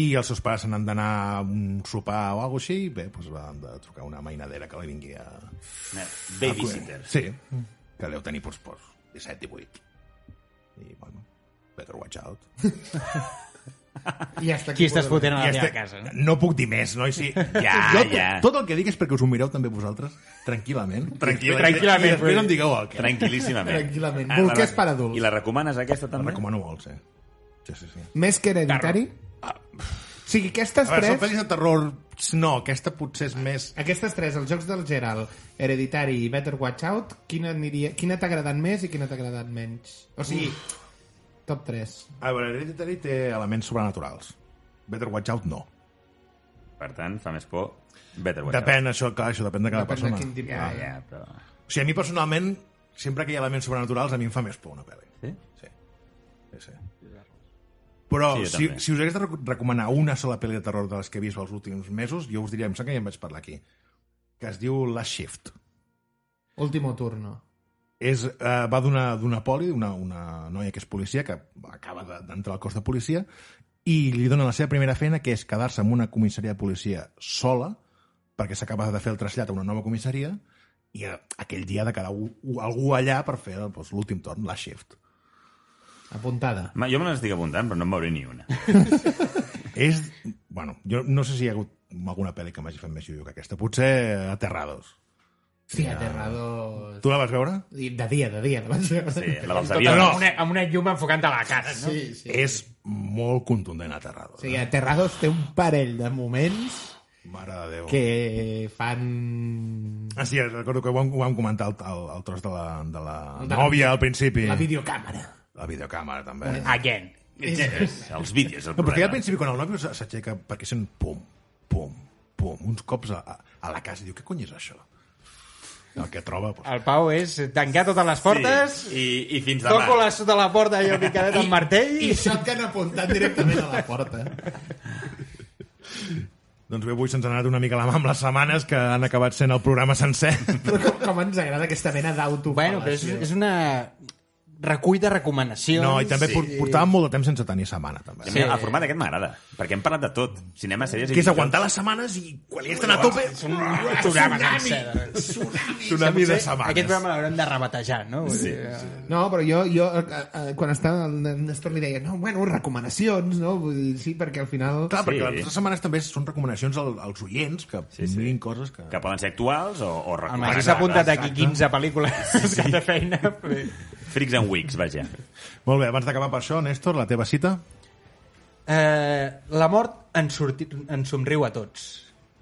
Speaker 1: i els seus pares se n'han d'anar a un sopar o alguna cosa així, i bé, doncs van de trucar una mainadera que li vingui a...
Speaker 3: Babysitter.
Speaker 1: Sí, que deu tenir, doncs, doncs 17, 18. I, bueno, better watch out.
Speaker 2: I hasta aquí
Speaker 4: Qui estàs fotent Ah, a la
Speaker 1: Ja
Speaker 4: teva
Speaker 1: està-
Speaker 4: casa? no?
Speaker 1: No puc dir més, no? I sí, ja,
Speaker 3: Ja, ja.
Speaker 1: Tot el que dic és perquè us ho mireu també vosaltres, tranquil·lament.
Speaker 3: Tranquil·lament.
Speaker 1: I després em digueu el que.
Speaker 3: Tranquil·líssimament.
Speaker 2: Tranquil·lament.
Speaker 3: Ah,
Speaker 2: Bolquers
Speaker 3: la-
Speaker 2: per adults.
Speaker 3: I la recomanes, aquesta,
Speaker 1: Em
Speaker 3: també?
Speaker 1: recomano molt, sí. eh? Sí, sí, sí.
Speaker 2: Més que hereditari? O sigui, aquestes
Speaker 1: A veure, són
Speaker 2: tres...
Speaker 1: pel·lis de terror... No, aquesta potser és més...
Speaker 2: Aquestes tres, els jocs del Gerald, Hereditari i Better Watch Out, quina, aniria, quina t'ha agradat més i quina t'ha agradat menys? O sigui, top 3.
Speaker 1: A veure, Hereditary té elements sobrenaturals. Better Watch Out no.
Speaker 3: Per tant, fa més por. Better Watch
Speaker 1: Depèn, això, clar, això depèn de cada
Speaker 2: Depèn de
Speaker 1: persona.
Speaker 2: quin
Speaker 3: Out.
Speaker 2: tipus.
Speaker 3: Ja, ja, però...
Speaker 1: O sigui, a mi personalment, sempre que hi ha elements sobrenaturals, a mi em fa més por una pel·li.
Speaker 3: Sí?
Speaker 1: Sí. sí, sí. Però
Speaker 3: Sí, jo
Speaker 1: sí, si,
Speaker 3: també.
Speaker 1: si us hagués de rec- recomanar una sola pel·li de terror de les que he vist els últims mesos, jo us diria, em sembla que ja en vaig parlar aquí, que es diu La Shift.
Speaker 2: Último turno.
Speaker 1: és, eh, va d'una d'una poli, una, una noia que és policia, que acaba de- d'entrar al cos de policia, i li dona la seva primera feina, que és quedar-se en una comissaria de policia sola, perquè s'acaba de fer el trasllat a una nova comissaria, i eh, aquell dia ha de quedar u- u- algú allà per fer doncs, l'últim torn, la shift.
Speaker 2: Apuntada.
Speaker 3: Ma, jo me l'estic apuntant, però no en veuré ni una.
Speaker 1: És, bueno, jo no sé si hi ha hagut alguna pel·li que m'hagi fet més lluio que aquesta. Potser eh, Aterrados.
Speaker 2: Sí, aterrador...
Speaker 1: Tu la vas veure?
Speaker 2: I De dia, de dia. Sí,
Speaker 3: Sí, la dels
Speaker 1: No,
Speaker 3: avions.
Speaker 1: no.
Speaker 4: Amb una, amb una llum enfocant a la cara, no?
Speaker 2: sí, sí.
Speaker 1: És molt contundent Aterrados. eh?
Speaker 2: O sigui, Aterrados té un parell de moments
Speaker 1: Mare de Déu.
Speaker 2: que fan
Speaker 1: Ah, sí, recordo que ho vam, ho vam comentar el, el, el tros de la, de la
Speaker 2: De la
Speaker 1: nòvia al principi.
Speaker 2: la videocàmera.
Speaker 1: La videocàmera, també. Ah,
Speaker 4: Again.
Speaker 3: Els vídeos, el
Speaker 1: no, perquè al
Speaker 3: problema.
Speaker 1: principi, quan el nòvio s- s'aixeca, perquè sent pum, pum, pum, uns cops a, a- a la casa, diu, què cony és això? El que troba... Doncs,
Speaker 4: El Pau és tancar totes les portes,
Speaker 3: Sí, i, i fins demà.
Speaker 4: toco les sota la porta allò picadet amb martell
Speaker 2: I shotgun apuntant directament a la porta.
Speaker 1: doncs bé, avui se'ns ha anat una mica la mà amb les setmanes que han acabat sent el programa sencer.
Speaker 2: Però com, com ens agrada aquesta mena d'auto...
Speaker 4: Bueno, però és, és una recull de recomanacions.
Speaker 1: No, i també sí. portàvem molt de temps sense tenir setmana, també.
Speaker 3: Sí. El format aquest m'agrada, perquè hem parlat de tot. Cinema, sèries... i
Speaker 1: Que és
Speaker 3: videojocs.
Speaker 1: aguantar les setmanes i quan hi estan a tope...
Speaker 4: Un programa sencer.
Speaker 1: Tsunami de setmanes.
Speaker 4: Aquest programa l'haurem de rebatejar, no? eh, Sí, sí.
Speaker 2: No, però jo, jo eh, eh, quan estava el Néstor li deia, no, bueno, recomanacions, no? Vull dir, sí, perquè al final...
Speaker 1: Clar, perquè
Speaker 3: Sí.
Speaker 1: les altres setmanes també són recomanacions al- als oients que sí, sí. mirin coses que...
Speaker 3: Que poden ser actuals o, o
Speaker 4: El
Speaker 3: recomanables.
Speaker 4: Magí s'ha apuntat aquí 15 pel·lícules sí, sí. de feina.
Speaker 3: Freaks and Weeks, vaja.
Speaker 1: Molt bé, abans d'acabar per això, Néstor, la teva cita?
Speaker 4: Eh, la mort ens, sorti... ens somriu a tots.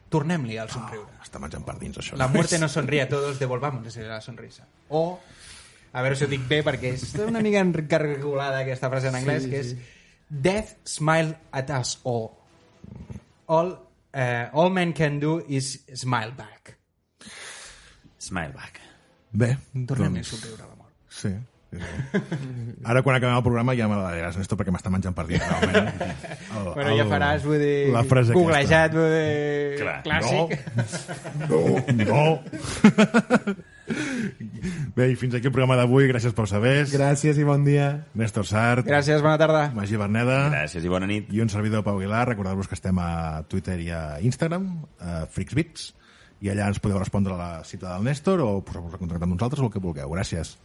Speaker 4: Tornem-li al somriure.
Speaker 1: Està menjant per dins, això.
Speaker 4: La muerte nos sonríe a todos, devolvámonos la sonrisa. O, a veure si ho dic bé, perquè és una mica encargolada aquesta frase en anglès, sí, que és Death smile at us all. All, eh, all men can do is smile back.
Speaker 3: Smile back.
Speaker 1: Bé,
Speaker 4: Tornem a
Speaker 1: doncs,
Speaker 4: somriure a la mort.
Speaker 1: sí. sí, sí. Ara, quan acabem el programa, ja me la diràs, Néstor, perquè m'està menjant per dins, realment. El,
Speaker 4: Bueno, ja faràs, vull dir,
Speaker 1: la frase
Speaker 4: googlejat, vull dir,
Speaker 3: Clar.
Speaker 4: clàssic.
Speaker 1: No, no. Bé, i fins aquí el programa d'avui. Gràcies per saber.
Speaker 2: Gràcies i bon dia.
Speaker 1: Néstor Sart.
Speaker 4: Gràcies, bona tarda.
Speaker 1: Magí Berneda.
Speaker 3: Gràcies i bona nit.
Speaker 1: i un servidor Pau Aguilar, recordar-vos que estem a Twitter i a Instagram a FreaksBits i allà ens podeu respondre a la cita del Néstor o posar-vos en contacte amb nosaltres o el que vulgueu, gràcies